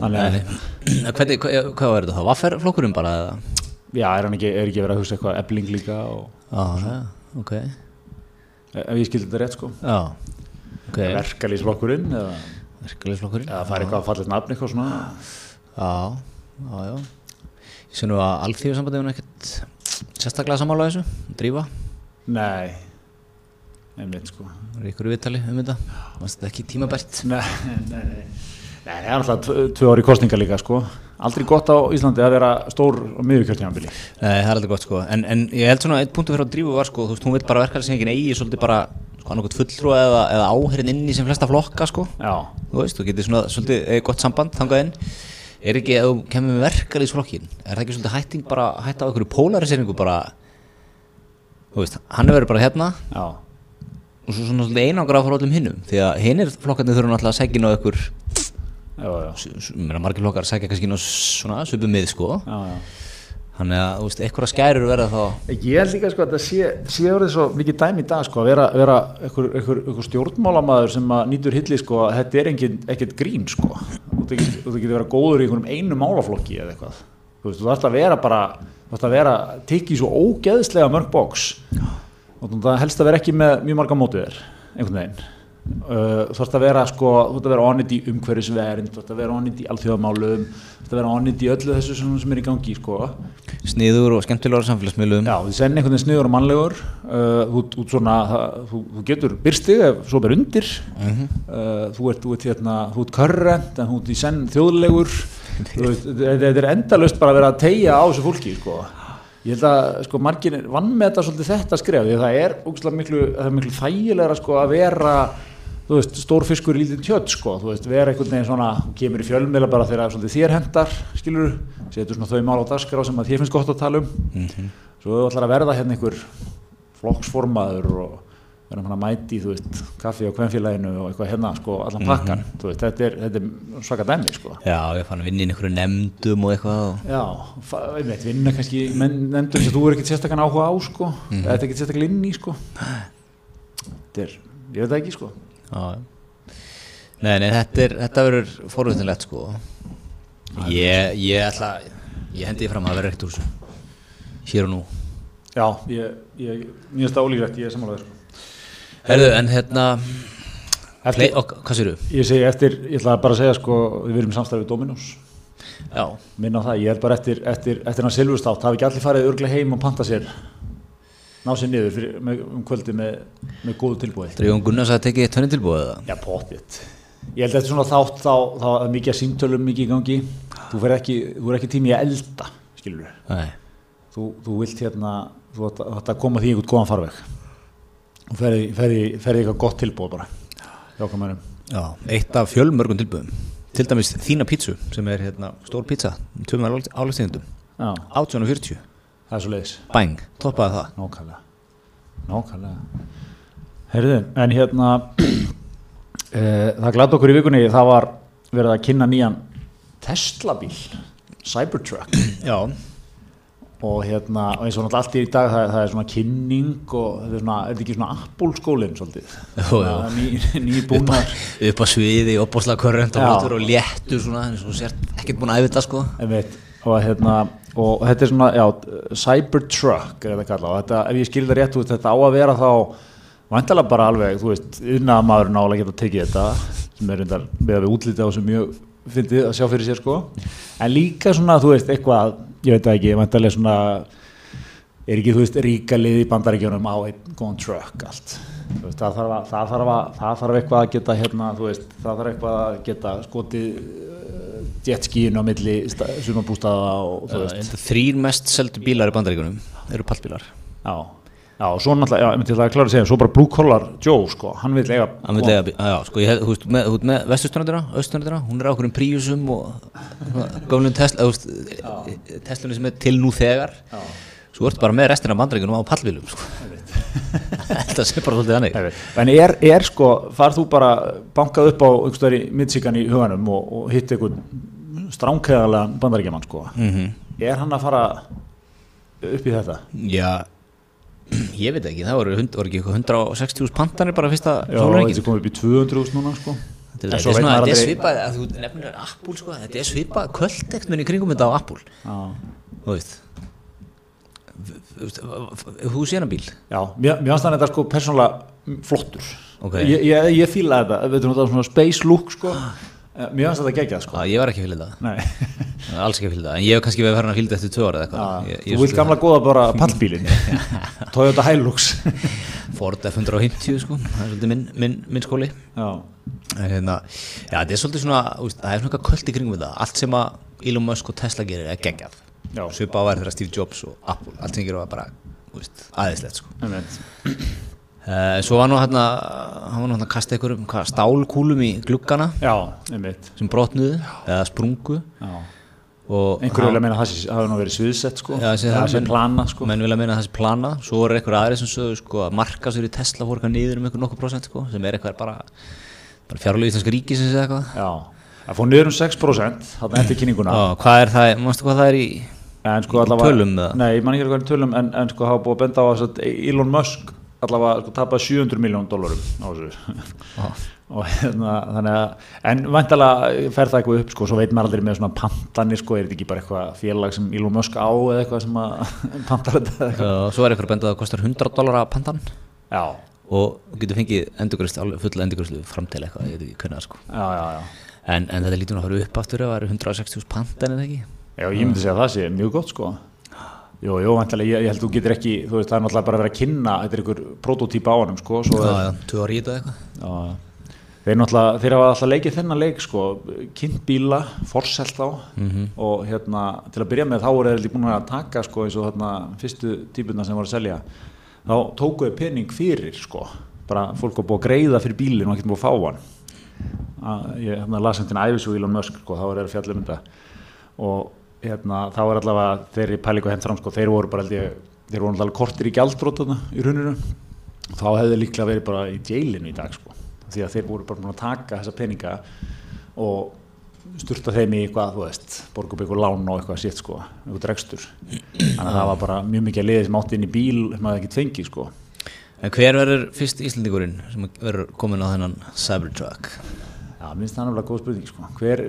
S1: Þannig að,
S2: Hvernig, hvað, hvað var þetta þá, vafferflokkurinn bara eða?
S1: já, er hann ekki, er ekki verið að hugsa eitthvað ebling líka og...
S2: Já, já, ok
S1: Ef ég skildi þetta rétt sko
S2: Já, ok
S1: Verkalýsflokkurinn eða,
S2: Verkefliðsflokkurinn
S1: eða það er eitthvað að falla nafn eitthvað svona
S2: Já, já, já Ég sé nú að alþjóðsambandi er ekkert sérstaklega sammála þessu, drífa
S1: Nei Einmitt sko
S2: Það er ykkur í viðtali um þetta Vannst þetta ekki tímabært
S1: Nei, nei, nei Nei, það er alltaf tvö, tvö ári kostninga líka sko Aldrei gott á Íslandi að vera stór og miðurkjörtjánabili
S2: Nei, það er aldrei gott sko En, en ég held svona eitt punktu fyrir að drífa var sko Þú veist, hún vil bara verka sem ekki eigi svolítið bara sko annarkot fulltrú eða, eða áherinn inn í sem flesta flokka sko
S1: Já,
S2: Þú veist, þú getur svona svolítið eða gott samband þangað inn Er ekki, ef þú kemur með verkalýsflokkin Er það ekki svolítið hætting bara hætta á einhverju polariseringu bara Þú veist, hann er verið bara hérna
S1: já,
S2: og svo svona svolítið einangra frá öllum hinnum því að hinnir flokkarnir þurfa náttúrulega að segja inn á ykkur
S1: já, já,
S2: s- s- ég meina, margir flokkar segja kannski inn á s- svona svipum mið sko
S1: já, já.
S2: þannig að þú veist, einhverja skærur verða þá
S1: Ég held líka sko að það sé, sé orðið svo mikið dæmi í dag sko að vera, vera einhver, einhver, einhver stjórnmálamaður sem að nýtur hilli sko að þetta er engin, ekkert grín sko og það getur vera góður í einhverjum einu málaflokki eða eitthvað þú veist, þú þarfst að vera bara þú þarfst að vera, tikki svo ógeðslega mörg bóks og þú- það helst að vera ekki með mjög marga mótið þér einhvern veginn Uh, þú þarfst að vera sko, þú þarfst að vera onnit í umhverfisvernd, þú þarfst að vera onnit í alþjóðamálum, þú þarfst að vera onnit í öllu þessu sem, sem er í gangi sko
S2: sniður og skemmtilegur samfélagsmiðlum
S1: Já, þú senn einhvern veginn sniður og mannlegur uh, þú, þú, svona, það, þú, þú getur byrstig ef svo ber undir uh, þú ert, þú ert, hérna, þú ert körrent en þú ert í senn þjóðlegur Þú veist, þetta þetta er endalaust bara að vera að tegja á þessu fólki sko. ég held að sko, margir vann með þetta svolítið þetta skref því að það er ógeðslega miklu, það er miklu þægilega sko, að vera þú veist, stór fiskur í lítið tjött sko, þú veist, vera einhvern veginn svona, þú kemur í fjölmiðla bara þegar svolítið þér hendar, skilur, setur svona þau mál á dagskrá sem að þér
S2: Mhm.
S1: finnst gott að tala um, svo þú ætlar að verða hérna einhver flokksformaður og við erum hann að mæti, þú veist, kaffi á kvenfélaginu og eitthvað hérna, sko, allan pakkan þú veist, þetta er, þetta er svaka dæmi, sko
S2: Já, ég fann að vinna í einhverju nefndum og eitthvað og...
S1: Já, fa- einmitt, vinna kannski menn nefndur sem þú er ekkert sérstakann áhuga á sko, eða þetta er ekkert sérstakann inn í sko þetta er, ég veit það ekki sko
S2: Já, já. Nei, nei, þetta, er, þetta verður forvöldinlegt sko Ég, ég ætla ég hendi því fram að það verður eitt úr þessu hér og nú
S1: Já, ég, ég, mjög stálíklegt, ég er samanlega sko.
S2: Herðu, en hérna
S1: Eftir-
S2: play, og, hvað sérðu?
S1: Ég segi eftir, ég ætla bara að segja sko við erum í samstarfið Dominos
S2: Já,
S1: minna á það, ég held bara eftir, eftir, eftir hann silfurstátt, hafi ekki allir farið örglega heim og panta sér ná sér niður fyrir, með, um kvöldi með, með góðu tilbúið
S2: þetta er Jón Gunnars að tekið tönni tilbúið eða?
S1: Já, pottitt. Ég held að þetta er svona þátt þá, þá er mikið að símtölum mikið í gangi. Þú fer ekki, þú er ekki tími að elda, skilur við.
S2: Nei,
S1: Þú, þú vilt hérna, þú ætti að koma því í einhvern góðan farveg. Og ferði, ferði, ferði eitthvað gott tilbúð bara. Já, hvað mennum.
S2: já, eitt af fjölmörgum tilbúðum til dæmis þína pítsu sem er hérna stór pítsa, tveimur álægstíðundum
S1: Já,
S2: 1840,
S1: það er svo leiðis.
S2: bang, toppaði það
S1: Nákvæmlega. Nákvæmlega. Herðu, en hérna, e, það glæði okkur í vikunni, það var verið að kynna nýjan Tesla bíl, Cybertruck.
S2: Já,
S1: og hérna, og eins og náttúrulega allt í dag það, það er svona kynning og þetta er svona, er þetta ekki svona Apple skólinn svolítið
S2: Jú, jú.
S1: Svona ný, nýbúnar
S2: upp á sviði og bóðslega körrönd og
S1: Já.
S2: hóttur og léttur svona eins og þú sért ekkert búin að æfa þetta sko
S1: einmitt, og hérna og þetta er svona, já, Cybertruck er þetta kallað, og þetta, ef ég skil það rétt út þetta á að vera þá vantala bara alveg, þú veist, yfirnaða maður nála geta tekið þetta, sem er reyndar með að við útlita og sem mjög fyndið að sjá fyrir sér sko, en líka svona, þú veist, eitthvað, ég veit það ekki, vantalega svona er ekki, þú veist, ríka lið í bandaríkjónum á einn góðan truck allt Þú veist, það, þarf að, það, þarf að, það þarf eitthvað að geta hérna, þú veist, það þarf eitthvað að geta skotið uh, jetskíinu á milli sumabústaða og þú veist
S2: Þrýr mest seldu bílar í bandaríkunum eru pallbílar
S1: já, já, og svo náttúrulega, já, ég myndi það að klára að segja svo bara Blue Collar Joe, sko, hann vil eiga
S2: Hann vil eiga bí- Já, sko, ég hef, þú veist, með, þú veist, með vestustunandina, austunandina, hún er á okkur um príusum og svona gömlum Tesla, þú veist, Teslunni sem er til nú þegar Svo ertu bara með restina af bandaríkunum á pallbílum sko Þetta sé bara svolítið þannig
S1: Nei, En er, er sko, far þú bara bankað upp á einhverstaðar í Michigan í huganum og, og hitt einhvern stránkæðarlegan bandaríkjaman sko
S2: Mhm.
S1: er hann að fara upp í þetta?
S2: Já, ég veit ekki, það voru, hund- voru ekki 160.000 pantanir bara fyrsta
S1: Já,
S2: sólarhringinn.
S1: þetta er komið upp í 200 núna sko
S2: Þetta
S1: En svo
S2: er, þetta
S1: veit
S2: er, svona,
S1: maður
S2: þetta er
S1: aldrei-
S2: svipað, að þú nefnir Apple sko, þetta er svipað kvöldeknun í kringum þetta á Apple,
S1: Já,
S2: þú veist. V- Þú veist, v- v- þú sé hana bíl,
S1: já mér, mér fannst hann þetta sko persónulega flottur
S2: Ok.
S1: Ég, ég, ég fíla þetta, við veitum þetta er um svona space look sko Eh, Mér fannst þetta geggjað sko
S2: Á, ég var ekki fyrir það,
S1: Nei,
S2: alls ekki fyrir það, en ég hef kannski verið farin að fyrir þetta eftir tvö ára eða
S1: já,
S2: eitthvað. Ah, Ég- ég
S1: þú vilt
S2: svolítið
S1: gamla góða bara pallbílin Toyota Hilux
S2: það. Ford F-150 sko, það er svolítið minn, minn, minn skóli.
S1: Já,
S2: En hérna, já, þetta er svolítið svona, þú veist, það er svona eitthvað kvöld í kringum þetta, allt sem að Elon Musk og Tesla gerir er geggjað.
S1: Já.
S2: Svipað var þeirra Steve Jobs og Apple, allt sem gerir var bara, þú veist, aðeinslegt sko.
S1: einmitt
S2: Uh, svo var nú hérna, hann var nú hérna að kasta einhverjum hvað, stálkúlum í gluggana
S1: Já, einmitt
S2: sem brotnuðu eða sprungu
S1: Já
S2: og
S1: einhverju vilja meina að það sé- hafi nú verið sviðsett sko
S2: Já, þessi-
S1: það sé
S2: menn-
S1: plana sko
S2: menn vilja meina að þessi plana, svo voru einhverju aðri sem sögðu sko að marka sér í Tesla fór eitthvað niður um einhver nokkuð prósent sko sem er eitthvað bara, bara fjárlega íslenska ríkisins eða eitthvað.
S1: já, það fór niður um 6% þarna eftir kynninguna
S2: Já, hvað er það, mannstu hvað það er í,
S1: en sko allavega
S2: tölum eða?
S1: nei, ég man ekki hvernig tölum en, en sko hafa búið að benda á þess að Elon Musk allavega sko, tapaði 700 miljón dólarum á þessu og hérna þannig að en vantalega fer það eitthvað upp sko svo veit maður aldrei með svona pantanir sko er þetta ekki bara eitthvað félag sem Elon Musk á eða eitthvað sem að pantar þetta eða eitthvað?
S2: uh, svo er einhverju bendað að það kostar 100 dólar að pandan
S1: já,
S2: og þú getur fengið endurgrist, fulla endurgristlu fram til eitthvað, ég veit ekki hvernig það sko.
S1: já, já, já
S2: En, en þetta lítur nú að fara upp aftur ef það eru 160 pandan eða ekki?
S1: Já, ég myndi segja að það sé mjög gott sko Jú, jú, vantilega, ég, ég held þú getur ekki þú veist, það er náttúrulega bara að vera að kynna þetta er ykkur prototýpa á honum sko svo er,
S2: já, tvö ári í þetta eitthvað
S1: já, já. Þeir náttúrulega, þeir hafa alltaf leikið þennan leik sko, kynnt bíla, forselt þá og hérna, til að byrja með þá voru þeir líka búin að taka sko eins og þarna fyrstu típuna sem voru að selja þá tókuðu pening fyrir sko bara fólk var búið að greiða fyrir bílinn og ekki búið að fá hann að ég hérna, las hentin æfisug Elon Musk sko, þá er það fjallum þetta og hérna, þá er allavega þeirri pælingu hent fram sko, þeir voru bara held ég, þeir voru allavega kortir í gjaldrótana í runinu þá hefði líklega verið bara í jailinu í dag sko. því að þeir voru bara búin að taka þessa peninga og sturta þeim í eitthvað, þú veist, borga upp eitthvað lán og eitthvað sétt sko, eitthvað dregstur þannig að það var bara mjög mikið að liði sem átti inn í bíl sem maður ekki tvengi sko
S2: En hver verður fyrst Íslandingurinn sem verður komin á þennan Cybertruck?
S1: Já, minnst það er nefnilega góð spurning sko. Hver,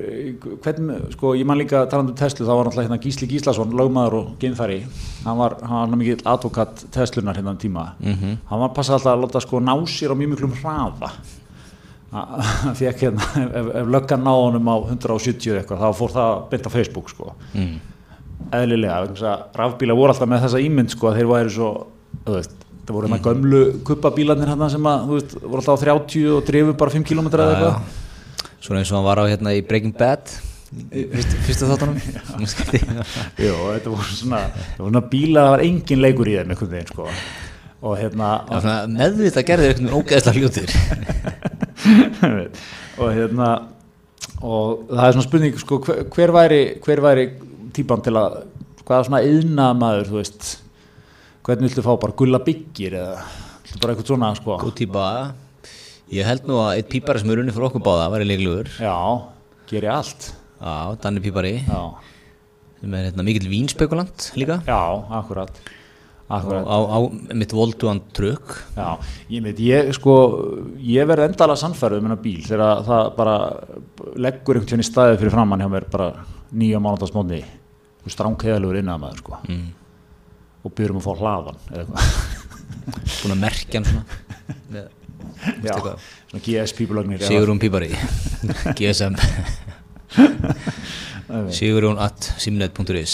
S1: hvern, sko, ég man líka talandi um Tesla, þá var náttúrulega hérna Gísli Gíslason, lögmaður og geimfæri, hann var, hann var mikið advokat Teslunar hérna um tíma,
S2: Mhm.
S1: hann var passað alltaf að láta sko ná sér á mjög miklum hraða, hann fekk hérna, ef, ef löggan náði honum á 170 eitthvað, þá fór það beint á Facebook sko
S2: Mm.
S1: eðlilega, vegna þess að rafbíla voru alltaf með þessa ímynd sko að þeir væri svo þú veist, það voru hérna gömlu kuppabílarnir hérna sem að, þú veist, voru alltaf á 30 og drifu bara 5 km eða eitthvað
S2: Svona eins og hann var á hérna í Breaking Bad í fyrstu, fyrstu þáttunum
S1: Jó, þetta voru svona, þetta voru svona bíla það var engin leikur í þeim einhvern veginn sko og hérna
S2: Já, svona meðvitað gerðir einhvern veginn ógeðsla hljótir
S1: og hérna og það er svona spurning sko, hver, hver væri, hver væri típan til að hvaða svona yðna maður þú veist, hvernig viltu fá bara gulla byggir eða viltu bara eitthvað svona sko
S2: Góð típa Ég held nú að eitt pípari sem er unni fyrir okkur báða var í leiklugur
S1: Já, geri allt
S2: Já, Danni pípari
S1: Já,
S2: sem er hérna mikill vínspekulant líka
S1: já akkurat,
S2: og
S1: akkurat.
S2: á, á mitt volduðan trökk
S1: Já, ég veit, ég sko ég verð endala sannfærið um hennar bíl þegar það bara leggur einhvern tjóni staðið fyrir framann hjá mér bara nýja mánudagsmóni stránkheðalugur innan maður sko
S2: mm.
S1: og byrjum að fá hlaðan eða eitthvað
S2: búin að merkja hann svona með,
S1: Já,
S2: eitthvað.
S1: svona GS-pípulagnir
S2: Sigurún Pípari GSM Sigurún at simnet.is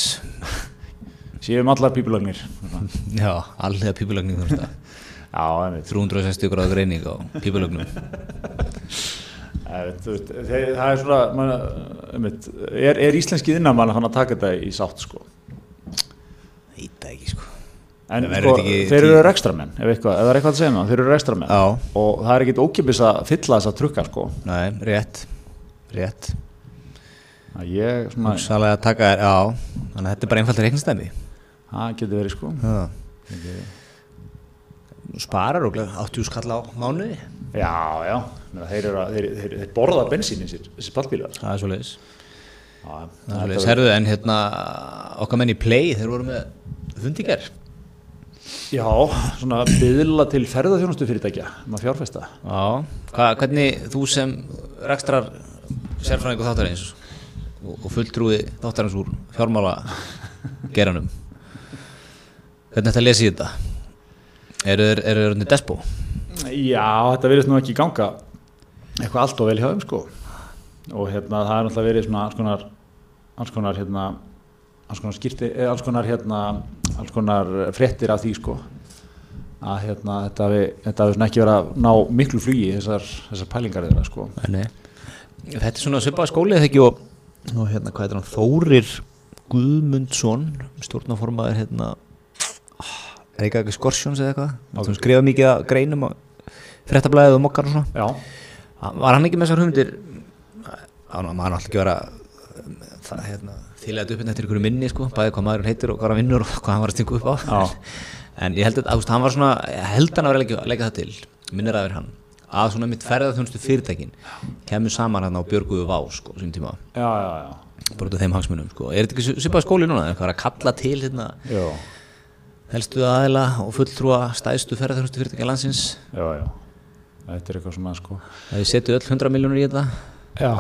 S1: Sigum um allar pípulagnir
S2: Já, allega pípulagnir þjónusta
S1: Já, það veit
S2: 360 gráða greining á pípulagnum
S1: Það, veist, þeir, það er svona man, einmitt, er, er íslenski innamann að taka þetta í sátt sko
S2: Íta ekki sko
S1: En sko,
S2: Það verður ekki
S1: þeir
S2: tíu-
S1: eru rekstramenn, ef eitthvað, ef það er eitthvað að segja maður, þeir eru rekstramenn
S2: Já,
S1: og það er ekkit ókipis að fylla þessa trukka sko.
S2: nei, rétt Rétt
S1: Að ég, svona,
S2: Hugsalega að taka þér, já Þannig að þetta er bara einfalt reiknstæmi
S1: það getur verið sko.
S2: Nú Sparar og 80 skall á mánuði
S1: Já, já, Menna, þeir, eru að, þeir, þeir, þeir borða bensínin sér, þessi pallbílar.
S2: Það er svo leiðis
S1: Já,
S2: Það er svo leiðis,
S1: þetta-
S2: herðu, en hérna okkar menn í play, þeir voru með hundiger
S1: Já, svona byðla til ferðaþjónustu fyrirtækja, maður fjárfesta.
S2: Já, Hva, hvernig þú sem rekstrar sérfræðingu þáttarins og, og fulltrúi þáttarins úr fjármála geranum hvernig þetta lesið þetta? Eru þeir eru þeir despo?
S1: Já, þetta verðist nú ekki ganga eitthvað allt og vel hjá þeim sko og hérna það er náttúrulega verið svona alls konar alls konar hérna alls konar skýrti, eh, alls konar hérna alls konar fréttir af því sko að hérna þetta hafi þetta hafi svona ekki verið að ná miklu flugi þessar, þessar pælingar þeirra sko
S2: Nei. Þetta er svona svipað skólið þegar ekki og, og hérna, hvað heitir hann, Þórir Guðmundsson stjórnaformaður hérna er ekki ekki Skorsjóns eða eitthvað okay. sem skrifa mikið að greinum fréttablaðið og mokkar og svona
S1: Já,
S2: Var hann ekki með þessar hugmyndir á, ná, maður er alltaf ekki að vera um, það, hérna, þýlega upp hérna eftir einhverju minni sko, bæði hvað maðurinn heitir og hvað hann vinnur og hvað hann var að stinga upp á
S1: Já.
S2: en ég held að ást, hann var svona, ég held hann að vera að leggja, leggja það til minnir að vera hann að svona mitt ferðarþjónustu fyrirtækin kemur saman hann á Björguðu Vá sko, á sínum tíma,
S1: já, já, já,
S2: bara út af þeim hagsmunum sko. er þetta ekki svipað skóli núna, er eitthvað að vera að kalla til hérna,
S1: já,
S2: helstu aðeila og fulltrúa stæðstu ferðarþjónustu fyrirtækin landsins
S1: já, já. Þetta er eitthvað svona sko
S2: að við setjum öll 100 miljónur í þetta
S1: Já,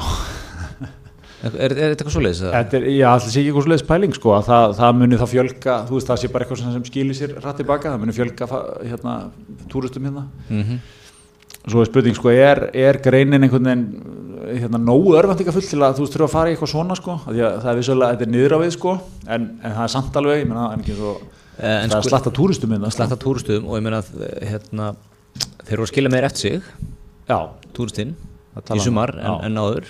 S2: Er, er þetta eitthvað svoleiðis? eða?
S1: Þetta er, já, alltaf sé ekki eitthvað sliðis pæling sko, að það, það muni það fjölga, þú veist, það sé bara eitthvað svona sem skilir sér rætt tilbaka, það muni fjölga fa- hérna, túristum hérna.
S2: Mhm.
S1: Svo er spurning, sko, er, er greinin einhvern veginn, hérna, nógu örvendingafull til að þú veist, þurfa að fara í eitthvað svona, sko, af því að það er vissulega, þetta er niður á við, sko, en, en það er samt alveg, ég menna, en ekki svo,
S2: Eh, en
S1: það
S2: sko-
S1: er slatta túristum hérna,
S2: slatta túristum og ég meina að, hérna, þeir eru að skilja meir eftir sig
S1: já,
S2: túristinn
S1: tala
S2: í sumar
S1: um,
S2: en,
S1: já.
S2: en áður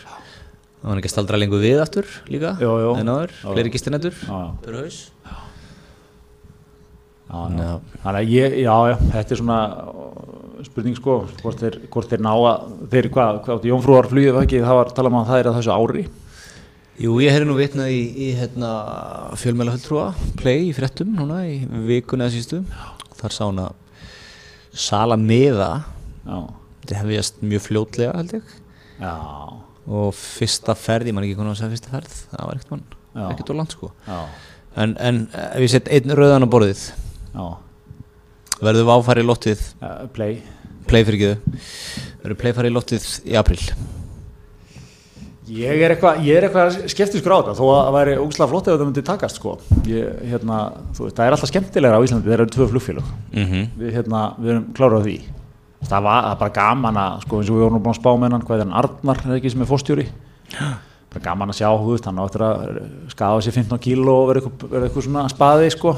S2: það var ekki að staldra lengur við aftur líka
S1: Jó, jó.
S2: en áður,
S1: Já.
S2: fleiri gistinætur
S1: já, já.
S2: per haus
S1: Já, já.
S2: Já.
S1: Þannig að ég, já, já, þetta er svona ó, spurning sko, hvort þeir, hvort þeir ná að, þeir hvað, hvað áttu Jónfrúar flugið eða ekki, það var talað um að það er að þessu ári.
S2: Jú, ég hefði nú vitnað í, í hérna, fjölmæla play í frettum núna í vikuna eða sístu þar sá hana sala miða
S1: já,
S2: þetta hefjast mjög fljótlega held ég
S1: já,
S2: og fyrsta ferð, ég man ekki hvernig að segja fyrsta ferð það var ekkert mann,
S1: Já.
S2: ekkert úr land sko
S1: já,
S2: en, en eh, ef ég sett einn rauðan á borðið
S1: já,
S2: verður váfæri í lottið
S1: Eh, play,
S2: play fyrir ekki verður play færi í lottið í april
S1: Ég er eitthvað eitthva skeptiskur á þetta þó að það væri ógslag flott ef þetta myndi takast sko. ég, hérna, þú veist, það er alltaf skemmtilegra á Íslandi þegar það eru tvö flugfélag
S2: mm -hmm.
S1: við, hérna, við erum klárað á því það var það er bara gaman að sko, eins og við vorum nú búin að spá með hann hvað er hann Arnar er ekki sem er fórstjóri bara gaman að sjá þú veist, hann á eftir að skafa sér 15 kíló og vera eitthvað, vera eitthvað svona spaði sko.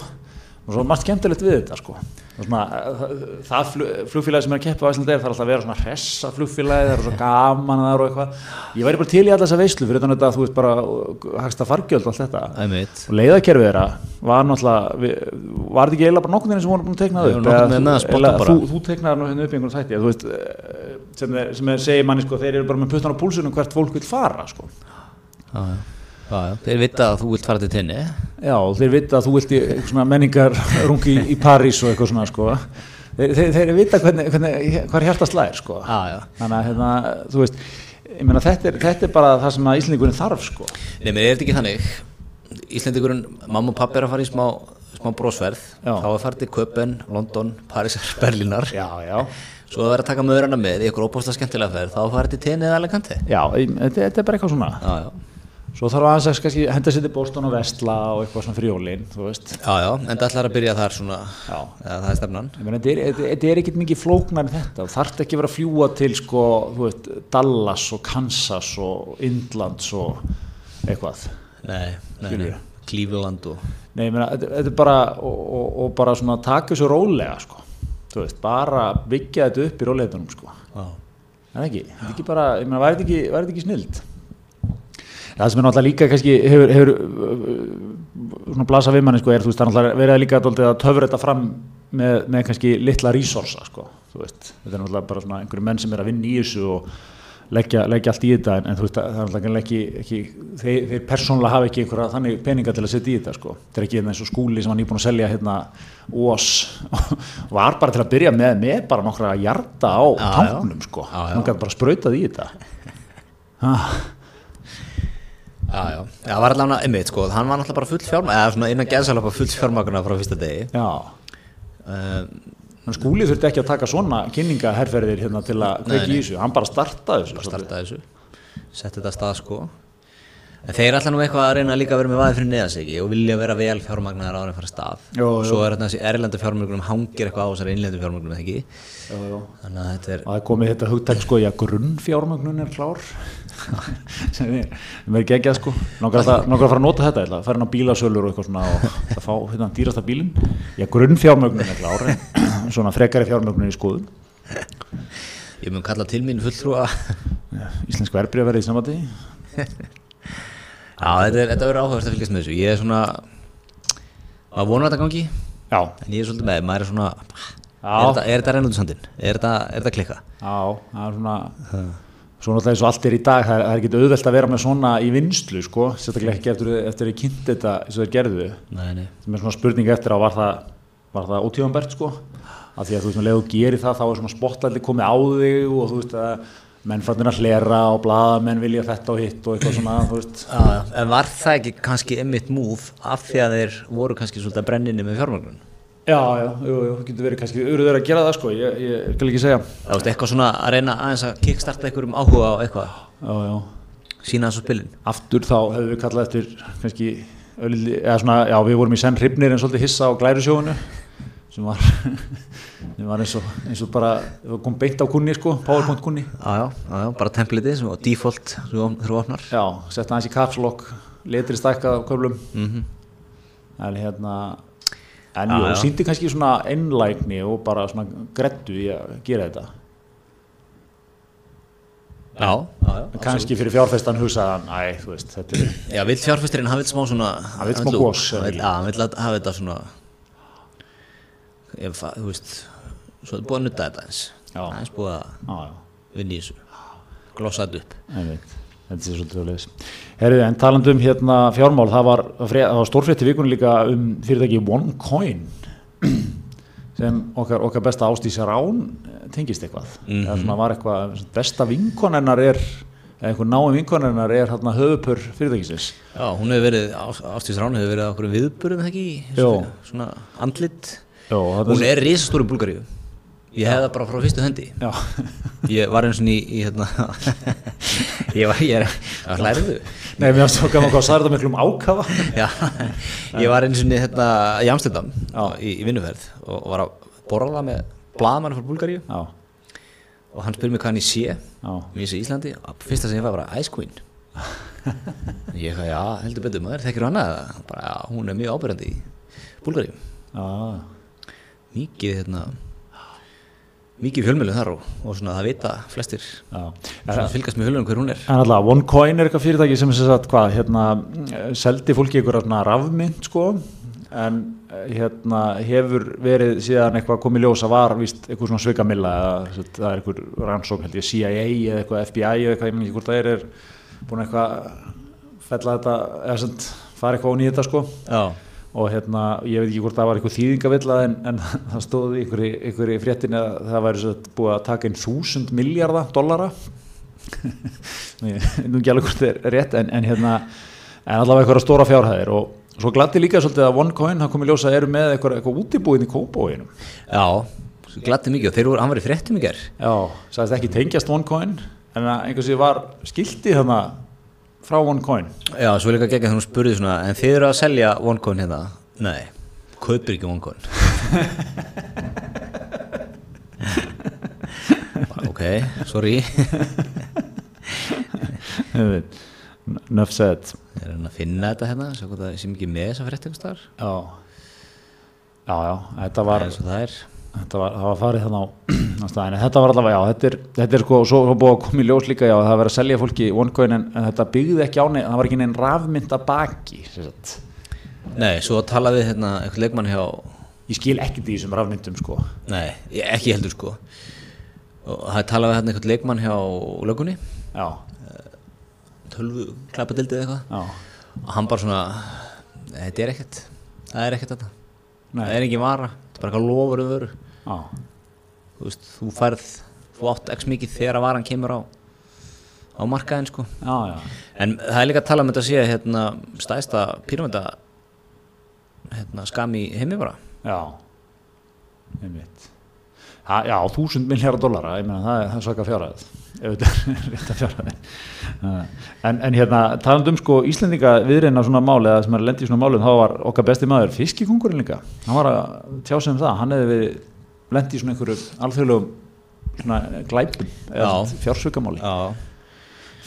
S1: og svo margt skemmtilegt við þetta sko. Og svona, það, það flug, flugfélagi sem er að keppa á Íslandi það er alltaf að vera svona hressa flugfélagi það er svo gaman að það eru eitthvað ég væri bara til í alla þessa veislu fyrir þannig að þú veist bara hagsta fargjöld og allt þetta
S2: Æmiðt
S1: og leiðakerfið þeirra var náttúrulega við- var þetta ekki eiginlega bara nokkurn veginn sem voru búin að teikna það
S2: Við
S1: upp
S2: vorum nokkurn veginn
S1: Eða þú- eiginlega
S2: að spotta bara.
S1: þú, þú teiknaði nú hérna upp í einhvern þætti eða þú veist, eh, sem, þeir, sem þeir segir manni sko, þeir eru bara með puttan á púlsunum hvert fólk vil fara sko.
S2: þeir vita að þú vilt fara til tenni
S1: já og þeir vita að þú vilt í einhver svona menningar rungi í París og eitthvað svona sko. þeir, þeir, þeir vita hvernig, hvernig, hvar hjartast lægir sko.
S2: Já, já.
S1: þannig að hérna, þú veist ég meina þetta er, þetta er bara það sem að Íslendingurinn þarf sko.
S2: Nei, mér er þetta ekki þannig Íslendingurinn, mamma og pappi er að fara í smá, smá brósverð
S1: Já.
S2: þá er farið til Köpen, London, Parísar, Berlínar
S1: já, já
S2: svo það er að taka möðurana með í okkur óbúslega skemmtilega ferð þá er farið til tenni eða Alicante
S1: Já, ég- þetta, þetta er bara eitthvað svona
S2: Já, já
S1: Svo þarf aðeins að kannski, henda sér til Boston og Vestla og eitthvað svona frjólin, þú veist.
S2: Já, já, en það ætlar að byrja þar svona
S1: Já.
S2: eða það er stefnan
S1: Ég meina, þetta er- þetta þetta er ekkert mikið flóknar en þetta. Það þarf ekki að vera að fljúa til, sko, þú veist, Dallas og Kansas og Indlands og eitthvað.
S2: Nei, nei, nei,
S1: Skilurðu?
S2: Cleveland og
S1: Nei, ég meina, þetta, þetta er bara, og, og, og bara svona taka þessu rólega, sko. Þú veist, bara byggja þetta upp í róleitunum, sko.
S2: Já,
S1: Er það ekki? Þetta er ekki bara, ég meina, væri þetta ekki, væri þetta ekki snild? Það sem er náttúrulega líka kannski hefur, hefur uh, svona blasa við manni sko er þú veist það er náttúrulega verið að líka dálítið að töfra þetta fram með, með kannski litla resursa sko þú veist þetta er náttúrulega bara svona einhverju menn sem er að vinna í þessu og leggja, leggja allt í þetta en, en þú veist það það er náttúrulega greinilega ekki, ekki þeir, þeir persónulega hafa ekki einhverja þannig peninga til að setja í þetta sko þetta er ekki hérna eins og skúli sem var nýbúin að selja hérna OAS var bara til að byrja með með bara nokkra hjarta á
S2: Já, já.
S1: tanknum sko
S2: Já, já.
S1: hann gæti bara sprautað í þetta ah,
S2: já, já, það var allavega einmitt sko, hann var náttúrulega bara full fjármagn eða svona innan geðsalapa full fjármagnuna frá fyrsta degi
S1: já
S2: um,
S1: Þannig skúli þurfti ekki að taka svona kynningaherferðir hérna til að
S2: Nei,
S1: kveiki
S2: nei.
S1: í þessu, hann bara startaði þessu.
S2: bara starta þessu setja þetta af stað sko en þeir ætla nú eitthvað að reyna líka að vera með vaði fyrir neðan sig ekki og vilja vera vel fjármagnar ára en fara af stað
S1: Jó,
S2: og
S1: jó.
S2: svo er þetta þessi erlendu fjármagnum hangir eitthvað á þessari innlendu fjármagnum ekki
S1: Já, já.
S2: þannig að þetta er
S1: Og það er komið þetta hugtak sko, já, grunnfjármögnun er klár, sem er, sem er geggjað sko. Nókar að, nókar að fara að nota þetta, ætla, að fara inn á bílasölur og eitthvað svona og ætla að fá hérna dýrasta bílinn. Já, grunnfjármögnun er klár, en svona frekari fjármögnun í skoðun.
S2: ég mun kalla til mín fulltrúa
S1: Íslensk verbrið verið í samvæti.
S2: já þetta er þetta verður áhugast að fylgjast með þessu ég er svona maður vonar að þetta gangi
S1: Já,
S2: en ég er svolítið með maður er svona
S1: Já.
S2: er þetta, er þetta reynaldu sandin er þetta, er þetta klikka
S1: já, það er svona... Svo náttúrulega eins og allt er í dag, það er, það er ekki auðvelt að vera með svona í vinslu, sko, sérstaklega ekki eftir, eftir að kynnt þetta eins og þeir gerðu.
S2: nei nei
S1: sem er svona spurning eftir á var það, var það ótíðanbært sko af því að þú veist, með leið og gerir það þá er svona spotlæti komið á þig og þú veist að menn fannir að hlera og blaða menn vilja þetta og hitt og eitthvað svona þú veist,
S2: Já, já, Ah, en var það ekki kannski einmitt múf af því að þeir voru kannski svolítið að brenninni með fjármagnun?
S1: já, já, jú, jú, getur verið kannski urður að gera það sko, ég, ég skal ekki segja
S2: Það veist eitthvað svona að reyna aðeins að kickstarta einhverjum áhuga á eitthvað,
S1: já, já,
S2: sína þessu spilin.
S1: aftur þá hefðum við kallað eftir kannski, öllu- eða svona, já, við vorum í senn hrifnir en svolítið hissa á glærusjóinu sem var, sem var eins, og, eins og bara kom beint á kunni sko, powerpoint kunni
S2: Já, já, já, já, bara templitið sem og default sem þú op- þú opnar.
S1: Já, sett aðeins í kapslokk, letri stækkað á köflum en hérna en
S2: Mhm. Já,
S1: jú,
S2: já.
S1: síndi kannski svona einlægni og bara svona grettu í að gera þetta
S2: Já, já, já.
S1: en kannski fyrir fjárfestan hugsaðan æ, þú veist, þetta er
S2: Já, vill fjárfæsturinn hafa þetta smá svona...
S1: vill smá
S2: lúk.
S1: gos, eða
S2: Hann vill-
S1: ekki?
S2: Já, hann vill að- hafa þetta svona, ég, fa- þú veist, svo er búið að nutta þetta eins.
S1: Já.
S2: Eins búið að
S1: á, já,
S2: vinna í þessu, glossa þetta upp.
S1: einmitt þetta er svolítið alveg Herðu, en talandi um hérna fjármál það var, það var stórfrétti vikunni líka um fyrirtæki OneCoin sem okkar, okkar besta Ástís Rán eh, tengist eitthvað mm -hmm. svona var eitthvað, svona besta vinkonennar er eða einhver náum vinkonennar er hérna höfupur fyrirtækisins
S2: Já, hún hefur verið, Ástís Ránu hefur verið á okkur viðburðum ekki, í
S1: Jó.
S2: svona- svona andlit
S1: Jó, þetta
S2: Hún er risastóri búlgaríu Ég hefði það bara frá fyrstu hendi
S1: Já,
S2: Ég var eins og ný í hérna Ég var, ég er, það hlærðu
S1: nei, mér finnst þá gaman hvað sagði þetta miklum ákafa
S2: Já, ég var eins og ný hérna í Amstendam í, í vinnuferð og, og var að borða með blaðmann frá Búlgaríu
S1: Já,
S2: og hann spyr mig hvað hann ég sé
S1: já,
S2: Mér sé Íslandi, og fyrsta sem ég fæði var Ice Queen Ég eitthvað, já, heldur betur maður, þekkir hann að það bara, já, hún er mjög ábyrjandi í Búlgaríu
S1: já,
S2: mikið hérna mikið fjölmjölu þar og, og svona það vita flestir
S1: já.
S2: svona fylgast með fjölmjölum hver hún er
S1: En alltaf, OneCoin er eitthvað fyrirtæki sem sem sagt, hvað, hérna, eh, seldi fólki ykkur svona rafmynd, sko, en eh, hérna, hefur verið síðan eitthvað komið ljósa var, víst, eitthvað svona svikamilla, eða sem sagt, það er eitthvað rannsókn, held ég, CIA eða eitthvað FBI eða eitthvað, ég menn ekki hvort það er, er búin að eitthvað fella þetta, eða sem sagt, fara eitthvað ón í þetta, sko,
S2: já,
S1: og hérna, ég veit ekki hvort það var eitthvað þýðingavilla, en, en það stóði ykkur, ykkur í fréttinni að það væri sem sagt, búið að taka inn þúsund miljarda dollara Ég- nú ekki alveg hvort það er rétt en, en hérna, en allavega einhverja stóra fjárhæðir og svo gladdi líka svolítið að OneCoin það komið ljósa að eru með eitthvað, eitthvað útibúin í kópóinum
S2: já svo gladdi mikið og þeir voru, hann var í fréttum í ger
S1: já, sagðist ekki tengjast OneCoin en að einhversi var skilti þarna frá OneCoin
S2: já, svo líka gegn að hún spurði svona en þið eru að selja OneCoin hérna nei, kaupir ekki OneCoin Bara, ok, sorry ég
S1: Nuff said
S2: er að reyna að finna þetta hérna sjá hvað það er sem ekki með þessa fréttum þar
S1: já, já, já þetta var,
S2: eins og það er
S1: þetta var, það var farið þannig á, á staðinu, þetta var allavega, já, þetta er, þetta er sko, og svo var búið að koma í ljós líka, já, það var að selja fólki OneCoin en, en þetta byggði ekki á neina, það var ekki neinn rafmynd að baki, sem sagt.
S2: nei, svo tala við hérna eitthvað leikmann hjá
S1: Ég skil ekkert í þessum rafmyndum, sko.
S2: Nei, ég- ekki heldur sko og það er talað við hérna einhvern leikmann hjá lögunni
S1: Já,
S2: tölvu klappadildið eitthvað
S1: já,
S2: og hann bara svona "Nei, þetta er ekkert, það er ekkert þetta
S1: Nei.
S2: það er ekki vara, þetta er bara eitthvað lofur um vöru
S1: já,
S2: þú veist, þú færð þú átt x mikið þegar að varan kemur á á markaðin sko
S1: já, já,
S2: en það er líka að tala um þetta að sé hérna stæðsta píramönda hérna skam í heimi bara
S1: já, einmitt. Ha, já, þúsund miljardar dollara, ég meina, það er, það er svaka fjárhæð, ef þetta er rétt að fjárhæði. En, en hérna, talandum um sko Íslendinga viðreina svona máli, eða sem er lendið í svona málum, þá var okkar besti maður fiskikungurinn líka. Hann var að tjá sig um það, hann hefði við lendið í svona einhverju alþjóðlegum svona glæpum, eða
S2: Já.
S1: fjársökamáli,
S2: Já,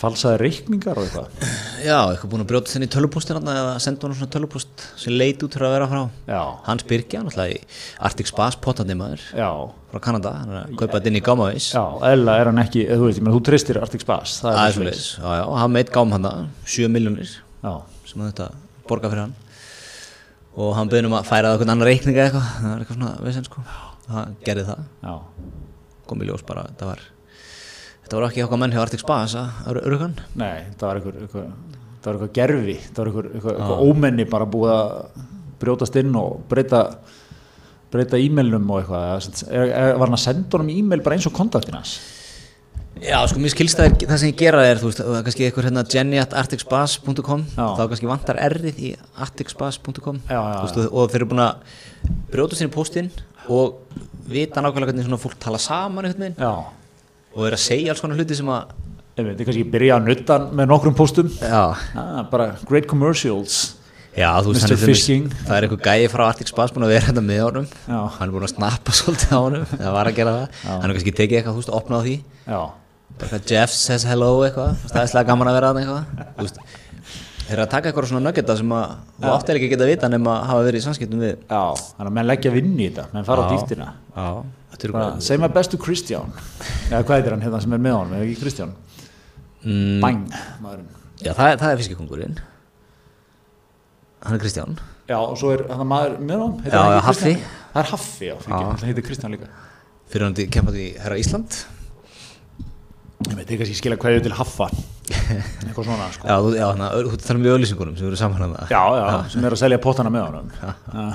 S1: falsaði reikningar og eitthvað.
S2: Já, eitthvað búin að brjóta þenni tölvupóstin hann eða senda honum svona tölvupóst sem leit út fyrir að vera frá
S1: Já,
S2: Hans Birgja, náttúrulega í Arctic Spas potandi maður
S1: já,
S2: frá Kanada, hann er að kaupa þetta inn í gámaveis
S1: Já, eðla er hann ekki, þú veist, ég menn, þú tristir Arctic Spass, það
S2: Það
S1: er
S2: er svolítið, já já, og hann meitt gám hann 7 miljónir
S1: Já,
S2: sem hann þetta borga fyrir hann og hann byrði um að færa það eitthvað annar reikninga eitthvað, það er eitthvað svona vesen sko og hann gerði það,
S1: já,
S2: kom í ljós bara þetta var, þetta var ekki okkar menn hjá Arctic Spas að eru örugan
S1: nei, það var einhver, einhver það var einhver gerfi, það var einhver, einhver, einhver ómenni bara búið að brjótast inn og breyta breyta e-mailnum og eitthvað eða sem sagt, er, er, var hann að senda honum e-mail bara eins og kontaktin hans
S2: Já, sko, mér skilst það er, það sem ég gera er, þú veist, það er kannski eitthvað hérna jenny.articspass.com
S1: Já.
S2: þá kannski vantar errið í articspass.com
S1: Já, já,
S2: Þú veist, og- og þeir eru búin að brjóta sinni póstinn og vita nákvæmlega hvernig svona fólk tala saman einhvern veginn
S1: Já,
S2: og er að segja alls konar hluti sem að
S1: ég veit, ég kannski byrja að nutta hann með nokkrum póstum
S2: Já,
S1: ah, bara great commercials
S2: þú
S1: Mr.
S2: veist, hann er til dæmis-
S1: Fishing.
S2: það er eitthvað gæi frá Articspass búin að vera þetta með honum
S1: Já.
S2: hann er búin að snappa svolítið á honum það var að gera það, hann er kannski tekið eitthvað, þú veist, opnað á því
S1: Já,
S2: bara eitthvað Jeff says hello eitthvað staðislega gaman að vera þarna eitthvað Þú veist, þeir eru að taka eitthvað svona nöggeta sem að þú átti eiginlega ekki að geta vita nema að hafa verið í samskiptum við
S1: já, þannig að menn leggja vinn í þetta menn fara á dýftina
S2: já, þetta eru
S1: Bara,
S2: hvað
S1: Segð maður bestu Kristján eða hvað heitir hann hérna sem er með honum, eða ekki Kristján
S2: mm,
S1: Bang, maðurinn
S2: já, það, er- það er fiskikongurinn hann er Kristján
S1: Já, og svo er hann maður með hann heitir
S2: Já,
S1: hann ekki Kristján?
S2: já, Haffi.
S1: Það er Haffi, já, fyrir ekki, hann heitir Kristján líka
S2: fyrir hann kempandi herra Ísland
S1: Ég veit, ég kannski skilja hverju til Haffa eitthvað svona, sko
S2: já, þú, já hana, þú talar um í öllisingunum sem eru saman hérna. hann
S1: Já, já, sem er að selja pottana með honum Já.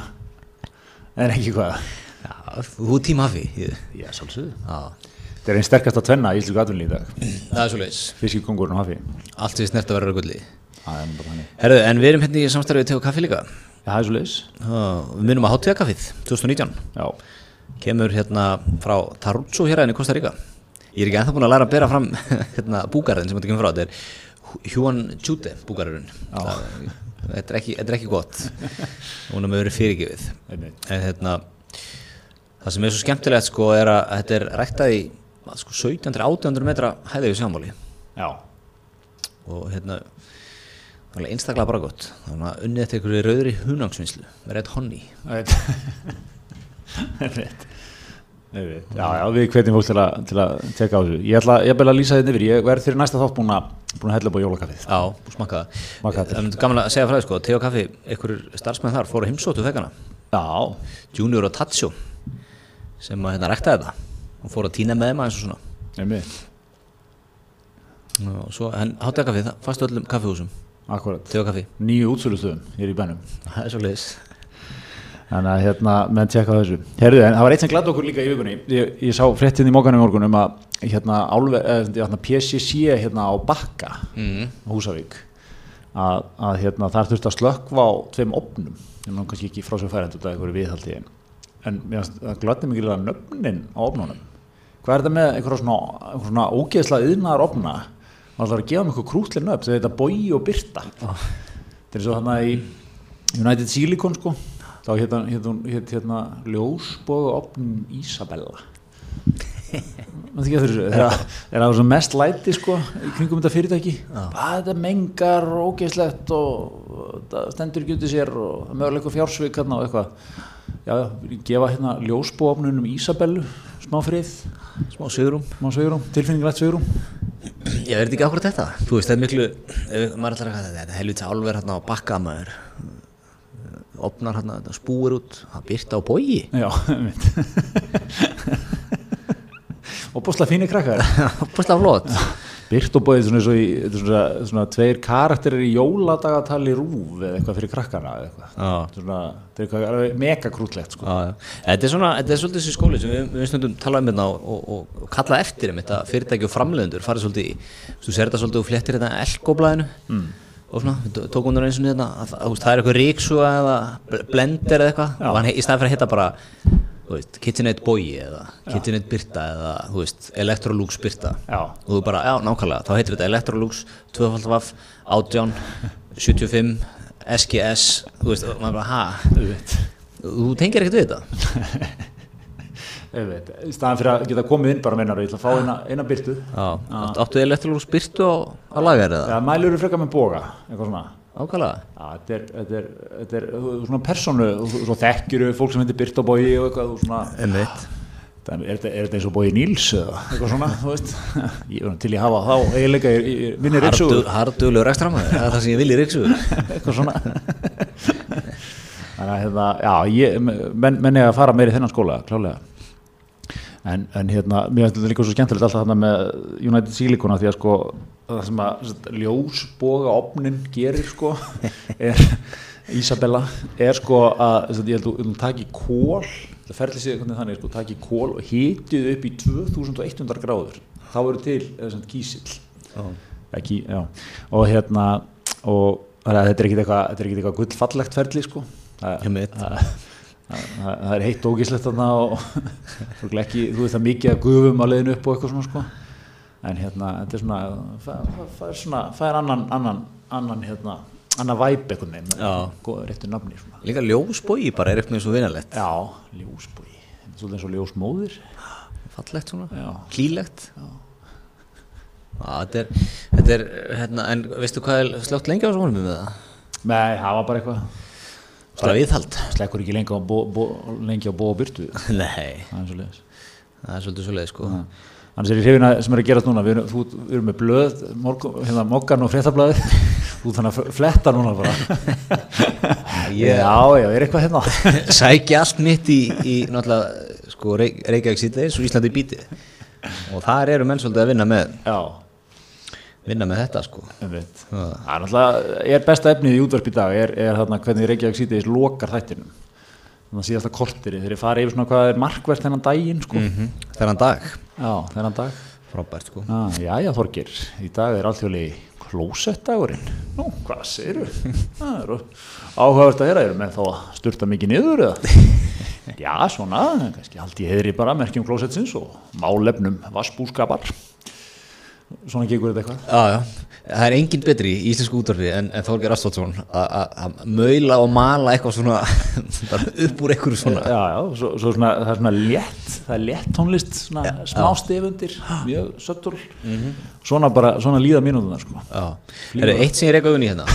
S1: en ekki hvað
S2: já, Hú tímafi ég-
S1: Já, svolítið.
S2: Já.
S1: Þetta er einn sterkast að tvenna í Íslu Gatunli í dag.
S2: Það er svo leiðis
S1: Fiskikongurinn og hafi.
S2: Allt við snert að vera gulli
S1: Það er nú bara þannig.
S2: Herðu, en við erum hérna í samstarfið til kaffi líka
S1: Já, það er svolítið.
S2: Ó, Við munum að hátíða 2019
S1: Já.
S2: Kemur hérna frá Taruzzo hér aðeins í Costa Rica Ég er ekki ennþá búin að læra að bera fram hérna, búkarinn sem þetta kemur frá Þetta er Juan Jute búkarinn Þetta er ekki, þetta er ekki gott Hún er með verið fyrirgefið
S1: Einmitt.
S2: En hérna Það sem er svo skemmtilegt sko er að þetta er ræktað í sko, 1700-1800 metra hæði við sjámáli
S1: Já.
S2: og hérna það er alveg einstaklega bara gott þannig að unnið eftir einhverju rauðri hunangsvinnslu með rétt honni
S1: Það er rétt. Einmitt. Já, já, við hvetjum fólk til að, til að teka á þessu. Ég ætla ég ætla að lýsa þetta yfir. Ég verð fyrir næsta þátt búin að, búin að hella upp á jólakaffið.
S2: á, smakka það
S1: Smakka þetta.
S2: það er gaman að segja frá því sko, te og kaffi, einhverjur starfsmenn þar fóru að heimsóttu vegana
S1: Já.
S2: Junior og Tatsu sem að hérna ræktaði þetta og fóru að týna með þeim aðeins og svona
S1: Einmitt.
S2: og svo, en hátega kaffi, það fannst öllum kaffihúsum
S1: Akkurat.
S2: te og kaffi,
S1: Nýju útsölustöðum hér í bænum.
S2: það er svo leiðis
S1: Þannig að hérna, menn tjekka á þessu. Herðu, en það var eitt sem gladdi okkur líka í vikunni. Ég, ég sá fréttin í mókanum morgun um að hérna, álver, eh, hérna PCC hérna á Bakka,
S2: mm.
S1: Húsavík, að, að hérna, þar þurfti að slökkva á tveim opnum. Ég nú kannski ekki frá sér færið út af einhverju viðhaldi. En, en mér fannst- það gladdi mikið að nöfnin á opnunum. Hvað er þetta með einhverja svona, einhverja svona ógeðslega yðnaðar opna? Það er alltaf að gefa mér eitthvað krútlega nöfn, þau heita Bói og Birta. Þetta er svo þarna í United Silicon sko þá hérna, hérna, hérna, hérna ljósboga opnin Isabella Manstu ekki eftir þessu? þegar þegar það var svona mest læti sko í kringum þetta fyrirtæki bara þetta mengar og ógeðslegt og það stendur ekki undir sér og möguleika fjársvik hérna og eitthvað já, já, gefa hérna ljósboga opninum Isabellu smá frið,
S2: smá sögurum
S1: smá sögurum, tilfinninglætt sögurum
S2: Ég verði ekki akkurat þetta Þú veist, það er miklu ef maður ætlar að þetta er helvita álver hérna á bakka maður opnar hérna, þetta spúir út það byrta á bogi
S1: já, einmitt og bústlega fínir krakkar
S2: Bústlega flott
S1: Byrt og bóðið svona, svona, svona, svona, svona tveir karakterir í jóladagatali rúf eða eitthvað fyrir krakkana eða eitthvað.
S2: Já.
S1: Svona, þetta er eitthvað alveg megakrútlegt sko.
S2: Já, já. Þetta er svona, þetta er svolítið þessi skóli sem við, við stundum tala um hérna og, og, og kalla eftir um þetta fyrirtæki og framleiðendur farið svolítið í, þú sér þetta svolítið og fléttir þetta elkoblaðinu mm. og svona, við tó- tókum hún eins og þetta hérna að, að, það er eitthvað ríksuga eða bl- blender eða eitthvað, og hann he- í staðan fyrir að hitta bara þú veist, KitchenAid Bogi eða KitchenAid Birta eða, þú veist, Electrolux Birta
S1: Já.
S2: og þú bara, já, nákvæmlega, þá heitir þetta Electrolux, 2.5, 18, 75, SGS, þú veist, og maður bara, ha,
S1: Þú veit.
S2: Þú tengir ekkert við þetta?
S1: Þú veit. Í staðan fyrir að geta komið inn bara meinar ég ætla að fá eina, eina byrtu.
S2: Já. Áttu- Áttu þið elektrolúr spyrtu á, á lagar eða?
S1: Eða mælur eru frekar með boga, eitthvað svona.
S2: Ákvæmlega.
S1: Já, þetta er, þetta er, þetta er þú- svona persónu, þú- svo þekkjur fólk sem heitir Byrt og bóði og eitthvað þú svona.
S2: Einmitt.
S1: Það Er þetta, er þetta eins og bóði Níls eða eitthvað svona, þú veist, ég, til ég hafa þá eiginlega í í- minni reynsögur.
S2: Hardulegur ekstra maður, það er það sem ég vil í ríksugur.
S1: eitthvað svona þannig að hérna, já, ég, menn, menn ég að fara meir í þennan skóla, klálega en, en hérna, mér finnst þetta líka svo skemmtilegt alltaf þarna með United Silicon af því að sko, það sem að sem sagt, ljósboga opnin gerir sko, er Isabella, er sko að sem sagt, ég held að hún taki kól það ferli sig hvernig þannig, sko, taki kól og hitið upp í 2100 gráður þá eru til, eða sem sagt, kísill ekki, já, og hérna og þannig að þetta er ekkit eitthvað þetta er ekkit eitthvað gullfallegt ferli sko það,
S2: Einmitt.
S1: það, það, það er heitt ógislegt þarna og örugglega ekki, þú veist það mikið að gufum að leiðinu upp og eitthvað svona sko en hérna, þetta er svona það- það- það er svona, það er annan annan, annan hérna, annan væp einhvern
S2: Já.
S1: veginn, góð réttu nafni svona
S2: Líka ljósbói bara er eitthvað svo vinalegt.
S1: já, ljósbúi, svolítið eins og ljósmóðir
S2: Fallegt svona.
S1: Já.
S2: Hlýlegt. Já. Þetta er, þetta er, hérna, en veistu hvað er slögt lengi á þessum volumum með það?
S1: nei, það var bara eitthvað
S2: Bara viðhald.
S1: slekkur ekki lengi á bó, bó, lengi á bó og byrtu
S2: Nei,
S1: það er svo leiðis
S2: það er svolítið svolítið sko.
S1: Þannig er í hrifina sem er að gerast núna, við erum, þú, við erum með blöð, morgun, hérna mokkan og fréttablaðið, þú þannig að fletta núna bara.
S2: Ég-
S1: Já, já, er eitthvað hérna.
S2: sækja Eh, allt mitt í, í náttúrulega sko, Reyk- Reykjavík síðdeis og Íslandi bítið og þar eru menn svolítið að vinna með,
S1: Já,
S2: vinna með þetta sko.
S1: um veit. Það er náttúrulega, er besta efnið í útvarp í dag, er, er þarna hvernig Reykjavík sítiðis lokar þættinum. þannig að síðasta kortiri þegar ég fari yfir svona hvað er markvert þennan daginn sko.
S2: Mhm. þennan dag
S1: já, þennan dag
S2: frábært sko
S1: ah, já, já Þorgir, í dag er alltjóðlega klósettdagurinn nú, hvað segir þú? það eru áhugavert að heyra, erum við þá að sturta mikið niður eða? já, svona, kannski hald ég heiðri bara merkjum klósettsins og málefnum vassbúskapar svona gekur þetta eitthvað
S2: Já, já. Það er enginn betri í íslensku útvarfi en, en Þorgeir Astótsson að maula og mala eitthvað svona bara upp úr einhverju svona
S1: já, já, svo, svo svona, það er svona létt það er létt tónlist, svona smá stefundir mjög söttur
S2: Mhm.
S1: svona bara, svona líða mínútunar sko.
S2: Já, það er eitt sem ég reyka augun í hérna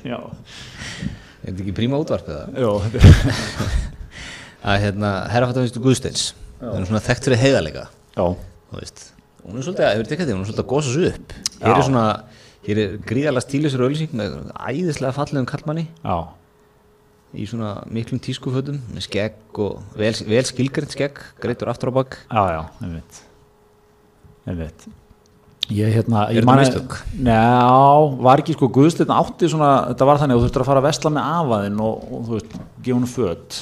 S1: já,
S2: Er þetta ekki príma útvarp eða?
S1: já, þetta er-
S2: Að hérna, herrafattafistu Guðsteins Hún er svona þekkt fyrir heiðalega
S1: já,
S2: Þú veist Hún er svolítið, hefur tekið þetta, hún er svolítið að gósa svo upp Hér er svona, hér er gríðalega stílisur auðlýsing með æðislega fallegum kallmanni
S1: já,
S2: í svona miklum tískufötum með skegg og vel, vel skilgrind skegg greitur aftur á bakk
S1: já, já, einmitt einmitt ég hérna,
S2: Er
S1: ég
S2: þetta
S1: mani
S2: mistök?
S1: já, var ekki sko guðstinn átti svona, þetta var þannig að þú þurftir að fara að vesla með afaðinn og, og þú veist, gefa hún föt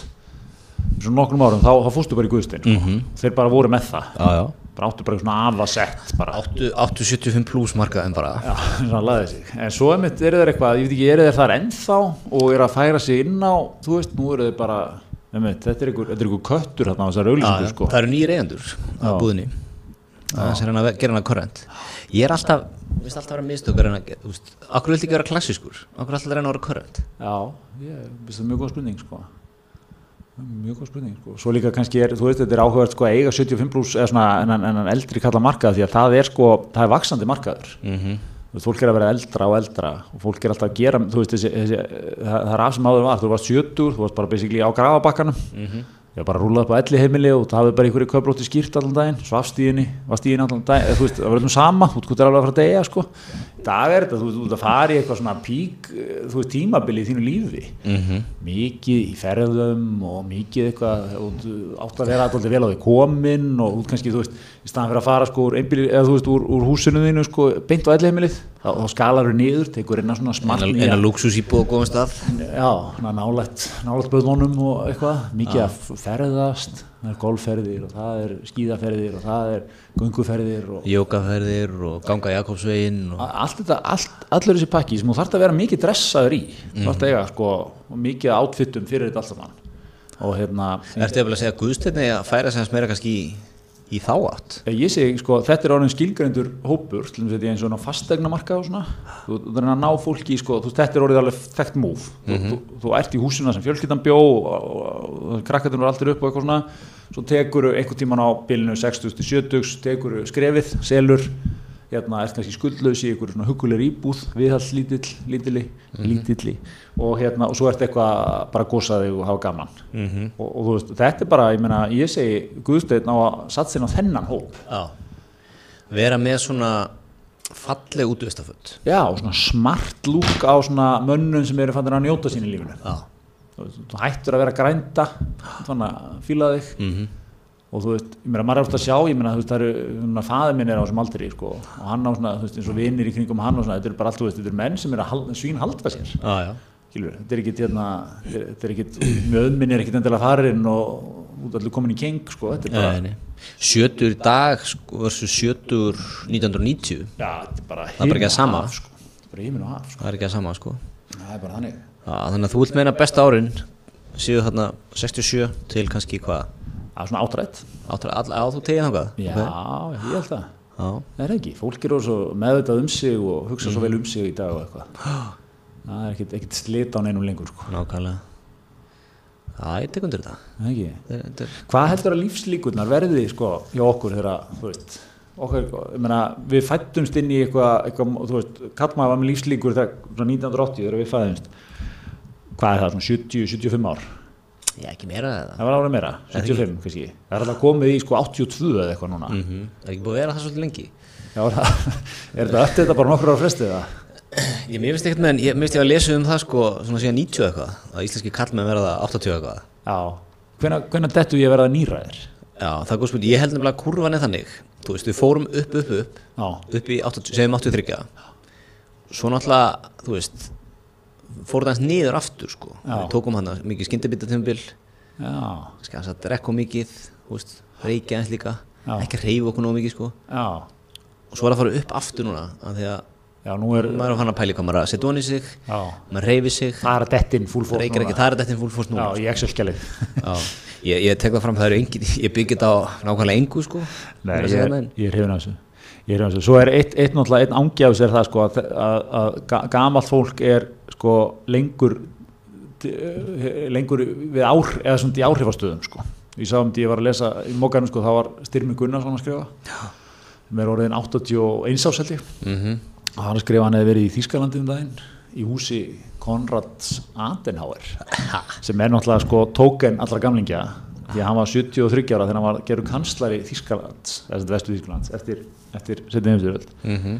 S1: svona nokkrum árum, þá, þá fórstu bara í guðstinn sko.
S2: Mhm.
S1: þeir bara voru með það
S2: Já, já
S1: bara áttu bara svona afasett bara
S2: 875 pluss markaðum bara
S1: Já, svona laðið sig. En svo einmitt eru þeir eitthvað, ég veit ekki, eru þeir þar ennþá og eru að færa sig inn á, þú veist, nú eru þeir bara, einmitt, þetta er einhver, þetta er einhver köttur þarna á þessar auðlýsingu, sko.
S2: það eru nýjir eigendur að
S1: Já.
S2: búðinni það er hann að ve- gera hann að korrent ég er alltaf, mér finnst alltaf að vera mistökar en að, ge- þú veist, okkur vildi ekki vera klassískur okkur alltaf að reyna að vera korrent
S1: Já, ég finnst það mjög góð spurning, sko. Mjög góð spurning, sko. Svo líka kannski er, þú veist, þetta er áhugavert, sko, að eiga 75 pluss eða svona en, en, en eldri kalla markaður því að það er, sko, það er vaksandi markaður.
S2: mm -hmm.
S1: Þú veist, fólk er að vera eldra og eldra og fólk er alltaf að gera, þú veist, þessi, þessi, það, það er af sem áður var, þú varst 70, þú varst bara basically á grafabakkanum, ég var bara að rúla upp á elli heimili og það hafði bara einhverju köflótti skýrt allan daginn, svafst í henni, varst í henni allan daginn, eða, þú veist, það var öllum sama, þú veist, er alveg að fara að deyja, sko. Í Dag er þetta, þú veist, þú ert að fara í eitthvað svona pík, eh, þú veist, tímabili í þínu lífi,
S2: Mhm.
S1: -hmm. mikið í ferðum og mikið eitthvað, og þú átt að vera alltaf vel á því komin og út kannski, þú veist, í staðan fyrir að fara, sko, úr, einbili, eða, þú veist, úr, úr húsinu þínu, sko, beint á elli heimilið, þá, þá skalar þú niður, tekur einna svona smart
S2: en, að-
S1: nýja-
S2: en að luxus íbúð og góðum stað
S1: Já, svona nálægt, nálægt böðunum og eitthvað, mikið að ferðast, það er golfferðir og það er skíðaferðir og það er gunguferðir
S2: Mm.
S1: og
S2: jókaferðir og ganga Jakobsvegin og,
S1: a- allt þetta, allt, allur þessi pakki sem þú þarft að vera mikið dressaður í, þú þarft að eiga sko og mikið að átfittum fyrir þetta allt saman og hérna,
S2: ertu jafnvel að segja Guðsteinni að færa sig hans meira kannski í, í þá átt
S1: ég segi sko þetta er orðin skilgrendur hópur, til þess að ég eins og ná fastegnamarka og svona, þú þú þarf að ná fólki í sko, þú, þetta er orðið alveg þekkt múf, þú, þú, þú ert í húsina sem fjölskyldan bjó og, og, og, og krakkatunum er aldrei upp og eitthvað svona, svo tekur einhvern tíman á bilinu 60-70, tekur skrefið, selur, hérna ert kannski skuldlaus í einhverju svona hugulegur íbúð, viðhald lítill, lítilli, lítilli og hérna og svo ert eitthvað bara gósaði og hafa gaman og, og þú veist, þetta er bara, ég meina, ég segi Guðsteinn á að satsa inn á þennan hóp
S2: já. vera með svona falleg útvistaföld
S1: Já, og svona smart lúk á svona mönnum sem eru fannir að njóta sín í lífinu.
S2: já
S1: Þú veist, Þú hættur að vera grænda, þannig að fíla þig
S2: Mhm.
S1: og þú veist, ég meina, maður er ofta að sjá, ég meina, þú veist, það eru, svona, faðir minn er á þessum aldri, sko, og hann á svona, þú veist, eins og vinir í kringum hann og svona, þetta eru bara allt, þú veist, þetta eru menn sem eru að hal- svínhalda sér,
S2: Já, já.
S1: skilur, þetta er ekkit, hérna, þetta er ekkit, möðminn er ekkit endilega farinn og út allir komin í keng, sko, þetta er bara,
S2: Nei, nei. Sjötur í dag sko, versus sjötur 1990
S1: já, þetta er bara
S2: er bara ekki
S1: himinn
S2: að
S1: og
S2: sama.
S1: haf, sko, Þetta er bara heimin og haf, sko,
S2: það er ekki að sama sko
S1: það er bara þannig.
S2: Já, þannig að þú vilt meina besta árin síðu þarna 67 til kannski hvað
S1: Það er svona áttrætt.
S2: áttur all, að þú tegið þangað
S1: Já, ég held það.
S2: Já.
S1: Það er ekki, fólk eru svo meðvitað um sig og hugsa svo vel um sig í dag og eitthvað. Það er ekkit, ekkit slit á neinum lengur, sko.
S2: nákvæmlega Já, ég tek undir þetta
S1: Það er ekki.
S2: Þetta er- þetta er-
S1: Hvað heldur að lífslíkurnar verði, sko, hjá okkur þegar, að, þú veist, okkar, ég meina, við fættumst inn í eitthvað, eitthvað þú veist, kallmaður var með lífslíkur þegar, svona 1980 þegar við fæðumst. Hvað er það, svona 70, 75 ár?
S2: Já, ekki meira eða
S1: Það var ára meira, 75 kannski. Það er alltaf komið í, sko, 82 eða eitthvað núna.
S2: mm -hmm. Það er ekki búið að vera það svolítið lengi
S1: Já, er það, er þetta öll þetta bara nokkur ára frestið það?
S2: Ég mér finnst ekkert með, ég mér finnst ég að lesa um það sko svona síðan 90 eitthvað að íslenski kallmenn verða 80 eitthvað
S1: Já, hvenna, hvenna dettu ég að verða nýræðir?
S2: Já, það er góð spurning, ég held nefnilega að kurvan er þannig þú veist, við fórum upp, upp, upp
S1: Já,
S2: upp í 80, segjum 83 svo náttúrulega, þú veist fór það hans niður aftur sko
S1: Já.
S2: við tókum hann mikið skyndibitatumbil
S1: já,
S2: kannski hans að drekka of mikið þú veist, reykja eins líka
S1: Já.
S2: ekki reyfa okkur nóg mikið sko
S1: já
S2: og svo er að fara upp aftur núna af því að
S1: já, nú er
S2: maður er hann að pæli hvað maður er að setja honi sig
S1: já,
S2: maður reyfi sig,
S1: það er að dettin full force
S2: reykir ekki,
S1: núna.
S2: það er þetta fólk fórst núna sko.
S1: já, í Excel-skjalið
S2: Já, ég, ég tek það fram það eru engin, ég byggir þetta á nákvæmlega engu sko
S1: Nei,
S2: Það er að
S1: ég,
S2: segja
S1: er-
S2: það, en-
S1: ég er hefðin af þessu Ég er hefðin af þessu, svo er eitt, eitt náttúrulega, einn ángi af þessu er það sko að, að, að ga- gamalt fólk er sko lengur d- eh, lengur við ár eða svona í áhrifastöðum sko Ég sá um því ég var að lesa í mókanum sko þá var Styrmi Gunnarsson að skrifa Já. með orðin 81 áseldi
S2: Mhm.
S1: og hann skrifa að hann hefði verið í Þýskalandi um daginn í húsi Konrads Adenauer sem er náttúrulega sko tóken allra gamlingja því að hann var 73 ára þegar hann var gerur kanslari Þýskalands, eða sem vestu Þýskalands eftir, eftir setni heimsturvöld
S2: Mhm.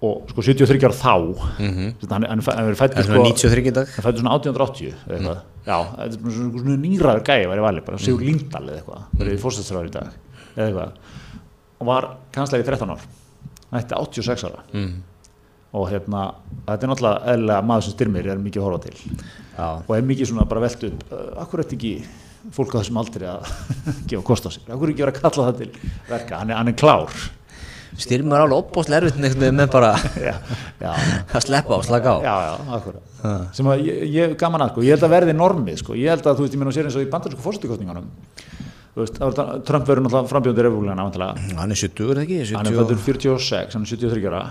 S1: og sko 73 ára þá mm
S2: Mhm.
S1: hann, hann, fæ- hann er fættur
S2: Það er svona
S1: sko
S2: 93 í dag
S1: hann fættur svona 1880 eða eitthvað já, þetta er bara svona, svona nýraður gæði væri valið, bara Sigur Lindahl eða eitthvað verið fórstæðsraður í dag eða eitthvað og var kanslari í 13 ár þetta er 86 ára
S2: mm.
S1: og hérna, þetta er náttúrulega eðlilega maður sem styrmir er mikið að horfa til
S2: Já,
S1: og er mikið svona bara velt upp uh, akkur eftir ekki fólk á þessum aldri að gefa kost á sér, akkur ekki vera að kalla það til verka, hann er, hann er klár
S2: styrmur er alveg opbóðslega erfitt neitt með, með bara
S1: já, já,
S2: að sleppa á, slaka á
S1: já, já akkur sem að ég, ég gaman að, sko, ég held að verði normið sko, ég held að þú veist, ég meina og sér eins og í bandarísku fórsetukostningunum þú veist, það var- Trump verður náttúrulega frambjóndi refúlina, náttúrulega
S2: Hann er 70 er það ekki,
S1: hann er sko.
S2: 70
S1: fættur 46, hann er 73 ára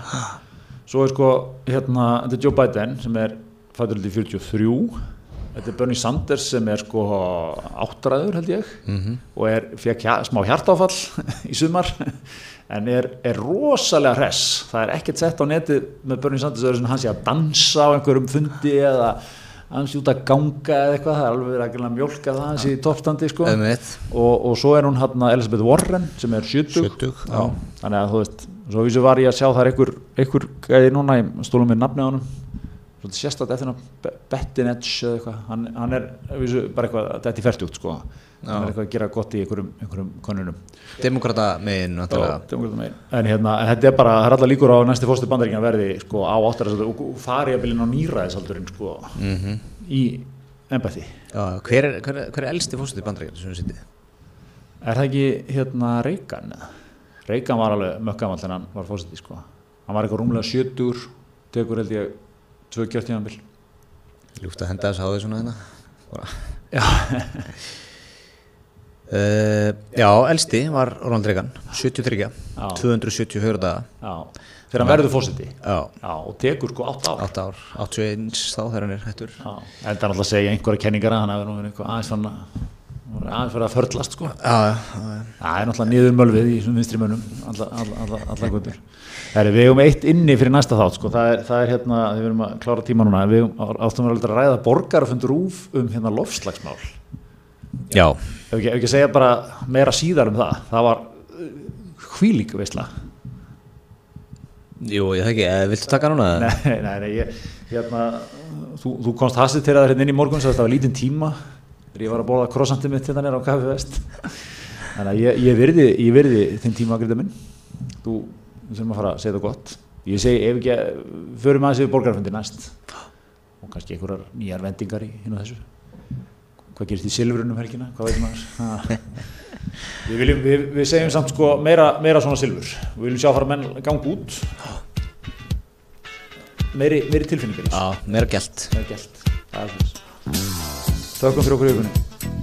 S1: svo er sko hérna, þetta er Joe Biden sem er fættur til 43 þetta er Bernie Sanders sem er sko áttræður held ég og er, fekk hja, smá hjartáfall í sumar en er, er rosalega hress það er ekkert sett á netið með Bernie Sanders öðru sem hann sé að dansa á einhverjum fundi eða hann sé út að ganga eða eitthvað, það er alveg verið að greinlega mjólka það hann sé í toppstandi sko
S2: Einmitt.
S1: og, og svo er hún hann Elisabeth Warren sem er 70,
S2: 70,
S1: já. þannig að þú veist svo vísu var ég að sjá þar einhver einhver gæði núna, ég stólum mér nafni á honum svolítið sérstætt eftir hann Bettinets eða eitthvað, hann, hann er vísu, bara eitthvað, þetta er færtugt sko hann er eitthvað að gera gott í einhverjum, einhverjum konunum
S2: Demokrata megin náttúrulega
S1: en hérna, en þetta er bara, það er allar líkur á að næsti fórstu bandaríkjan verði sko á áttarasaldur og og fari að byrja á nýraðisaldurinn sko í embætti
S2: Já, hver, er, hver, er- hver er elsti fórstuð í bandaríkjana sem við sýtti?
S1: Er það ekki hérna Reykján? Reykján var alveg mökkamall en hann var fórseti sko. Hann var eitthvað rúmlega 70 tekur held ég tvö kjörtíðanbíl.
S2: Ljúft að henda þess að á því svona hérna Bara.
S1: Já.
S2: Eh, já, elsti var Ronald Reagan 73,
S1: Já.
S2: 274 daga
S1: Já. Þegar hann verður fórseti.
S2: Já,
S1: Já, og tekur sko 8 ár.
S2: 8 ár, 81 þá þegar hann er hættur
S1: Já. En það er alltaf að segja einhverja kenningar að hann hafi nú verið eitthvað aðeins fann að aðeins fyrir að förlast sko.
S2: Já, já,
S1: Það er náttúrulega niður mölvið í þessum vinstri mönnum alla, alla, alla, alla kundur Heri, Við eigum eitt inni fyrir næsta þátt sko. það, er, það er hérna, við verum að klára tíma núna en við eigum- áttum við að ræða borgarfund rúf um hérna lofslagsmál ef
S2: já.
S1: ekki, ef ekki að segja bara meira síðar um það það var hvílík veistla
S2: Jú, ég þekki, eh, viltu taka núna?
S1: Nei, nei, nei ég, hérna, þú, þú komst hastið til það hérna inn í morgun svo þetta var lítinn tíma þegar ég var að borða krossandi mitt hérna nýra á kaffi vest þannig að ég, ég, virði, ég virði þinn tíma gríða minn þú við þurfum að fara að segja það gott ég segi ef ekki að förum aðeins yfir borgarfundi næst og kannski einhverjar nýjar vendingar í hinn og þessu hvað gerist í silfrunum helgina, hvað veitum maður Ha. við, viljum, við, við segjum samt sko meira, meira svona silfur við viljum sjá að fara menn ganga út meiri, meiri tilfinningar í þessu.
S2: Já, mér er gælt
S1: Það er gælt. Það er þess. Þökkum fyrir okkur í aukunni.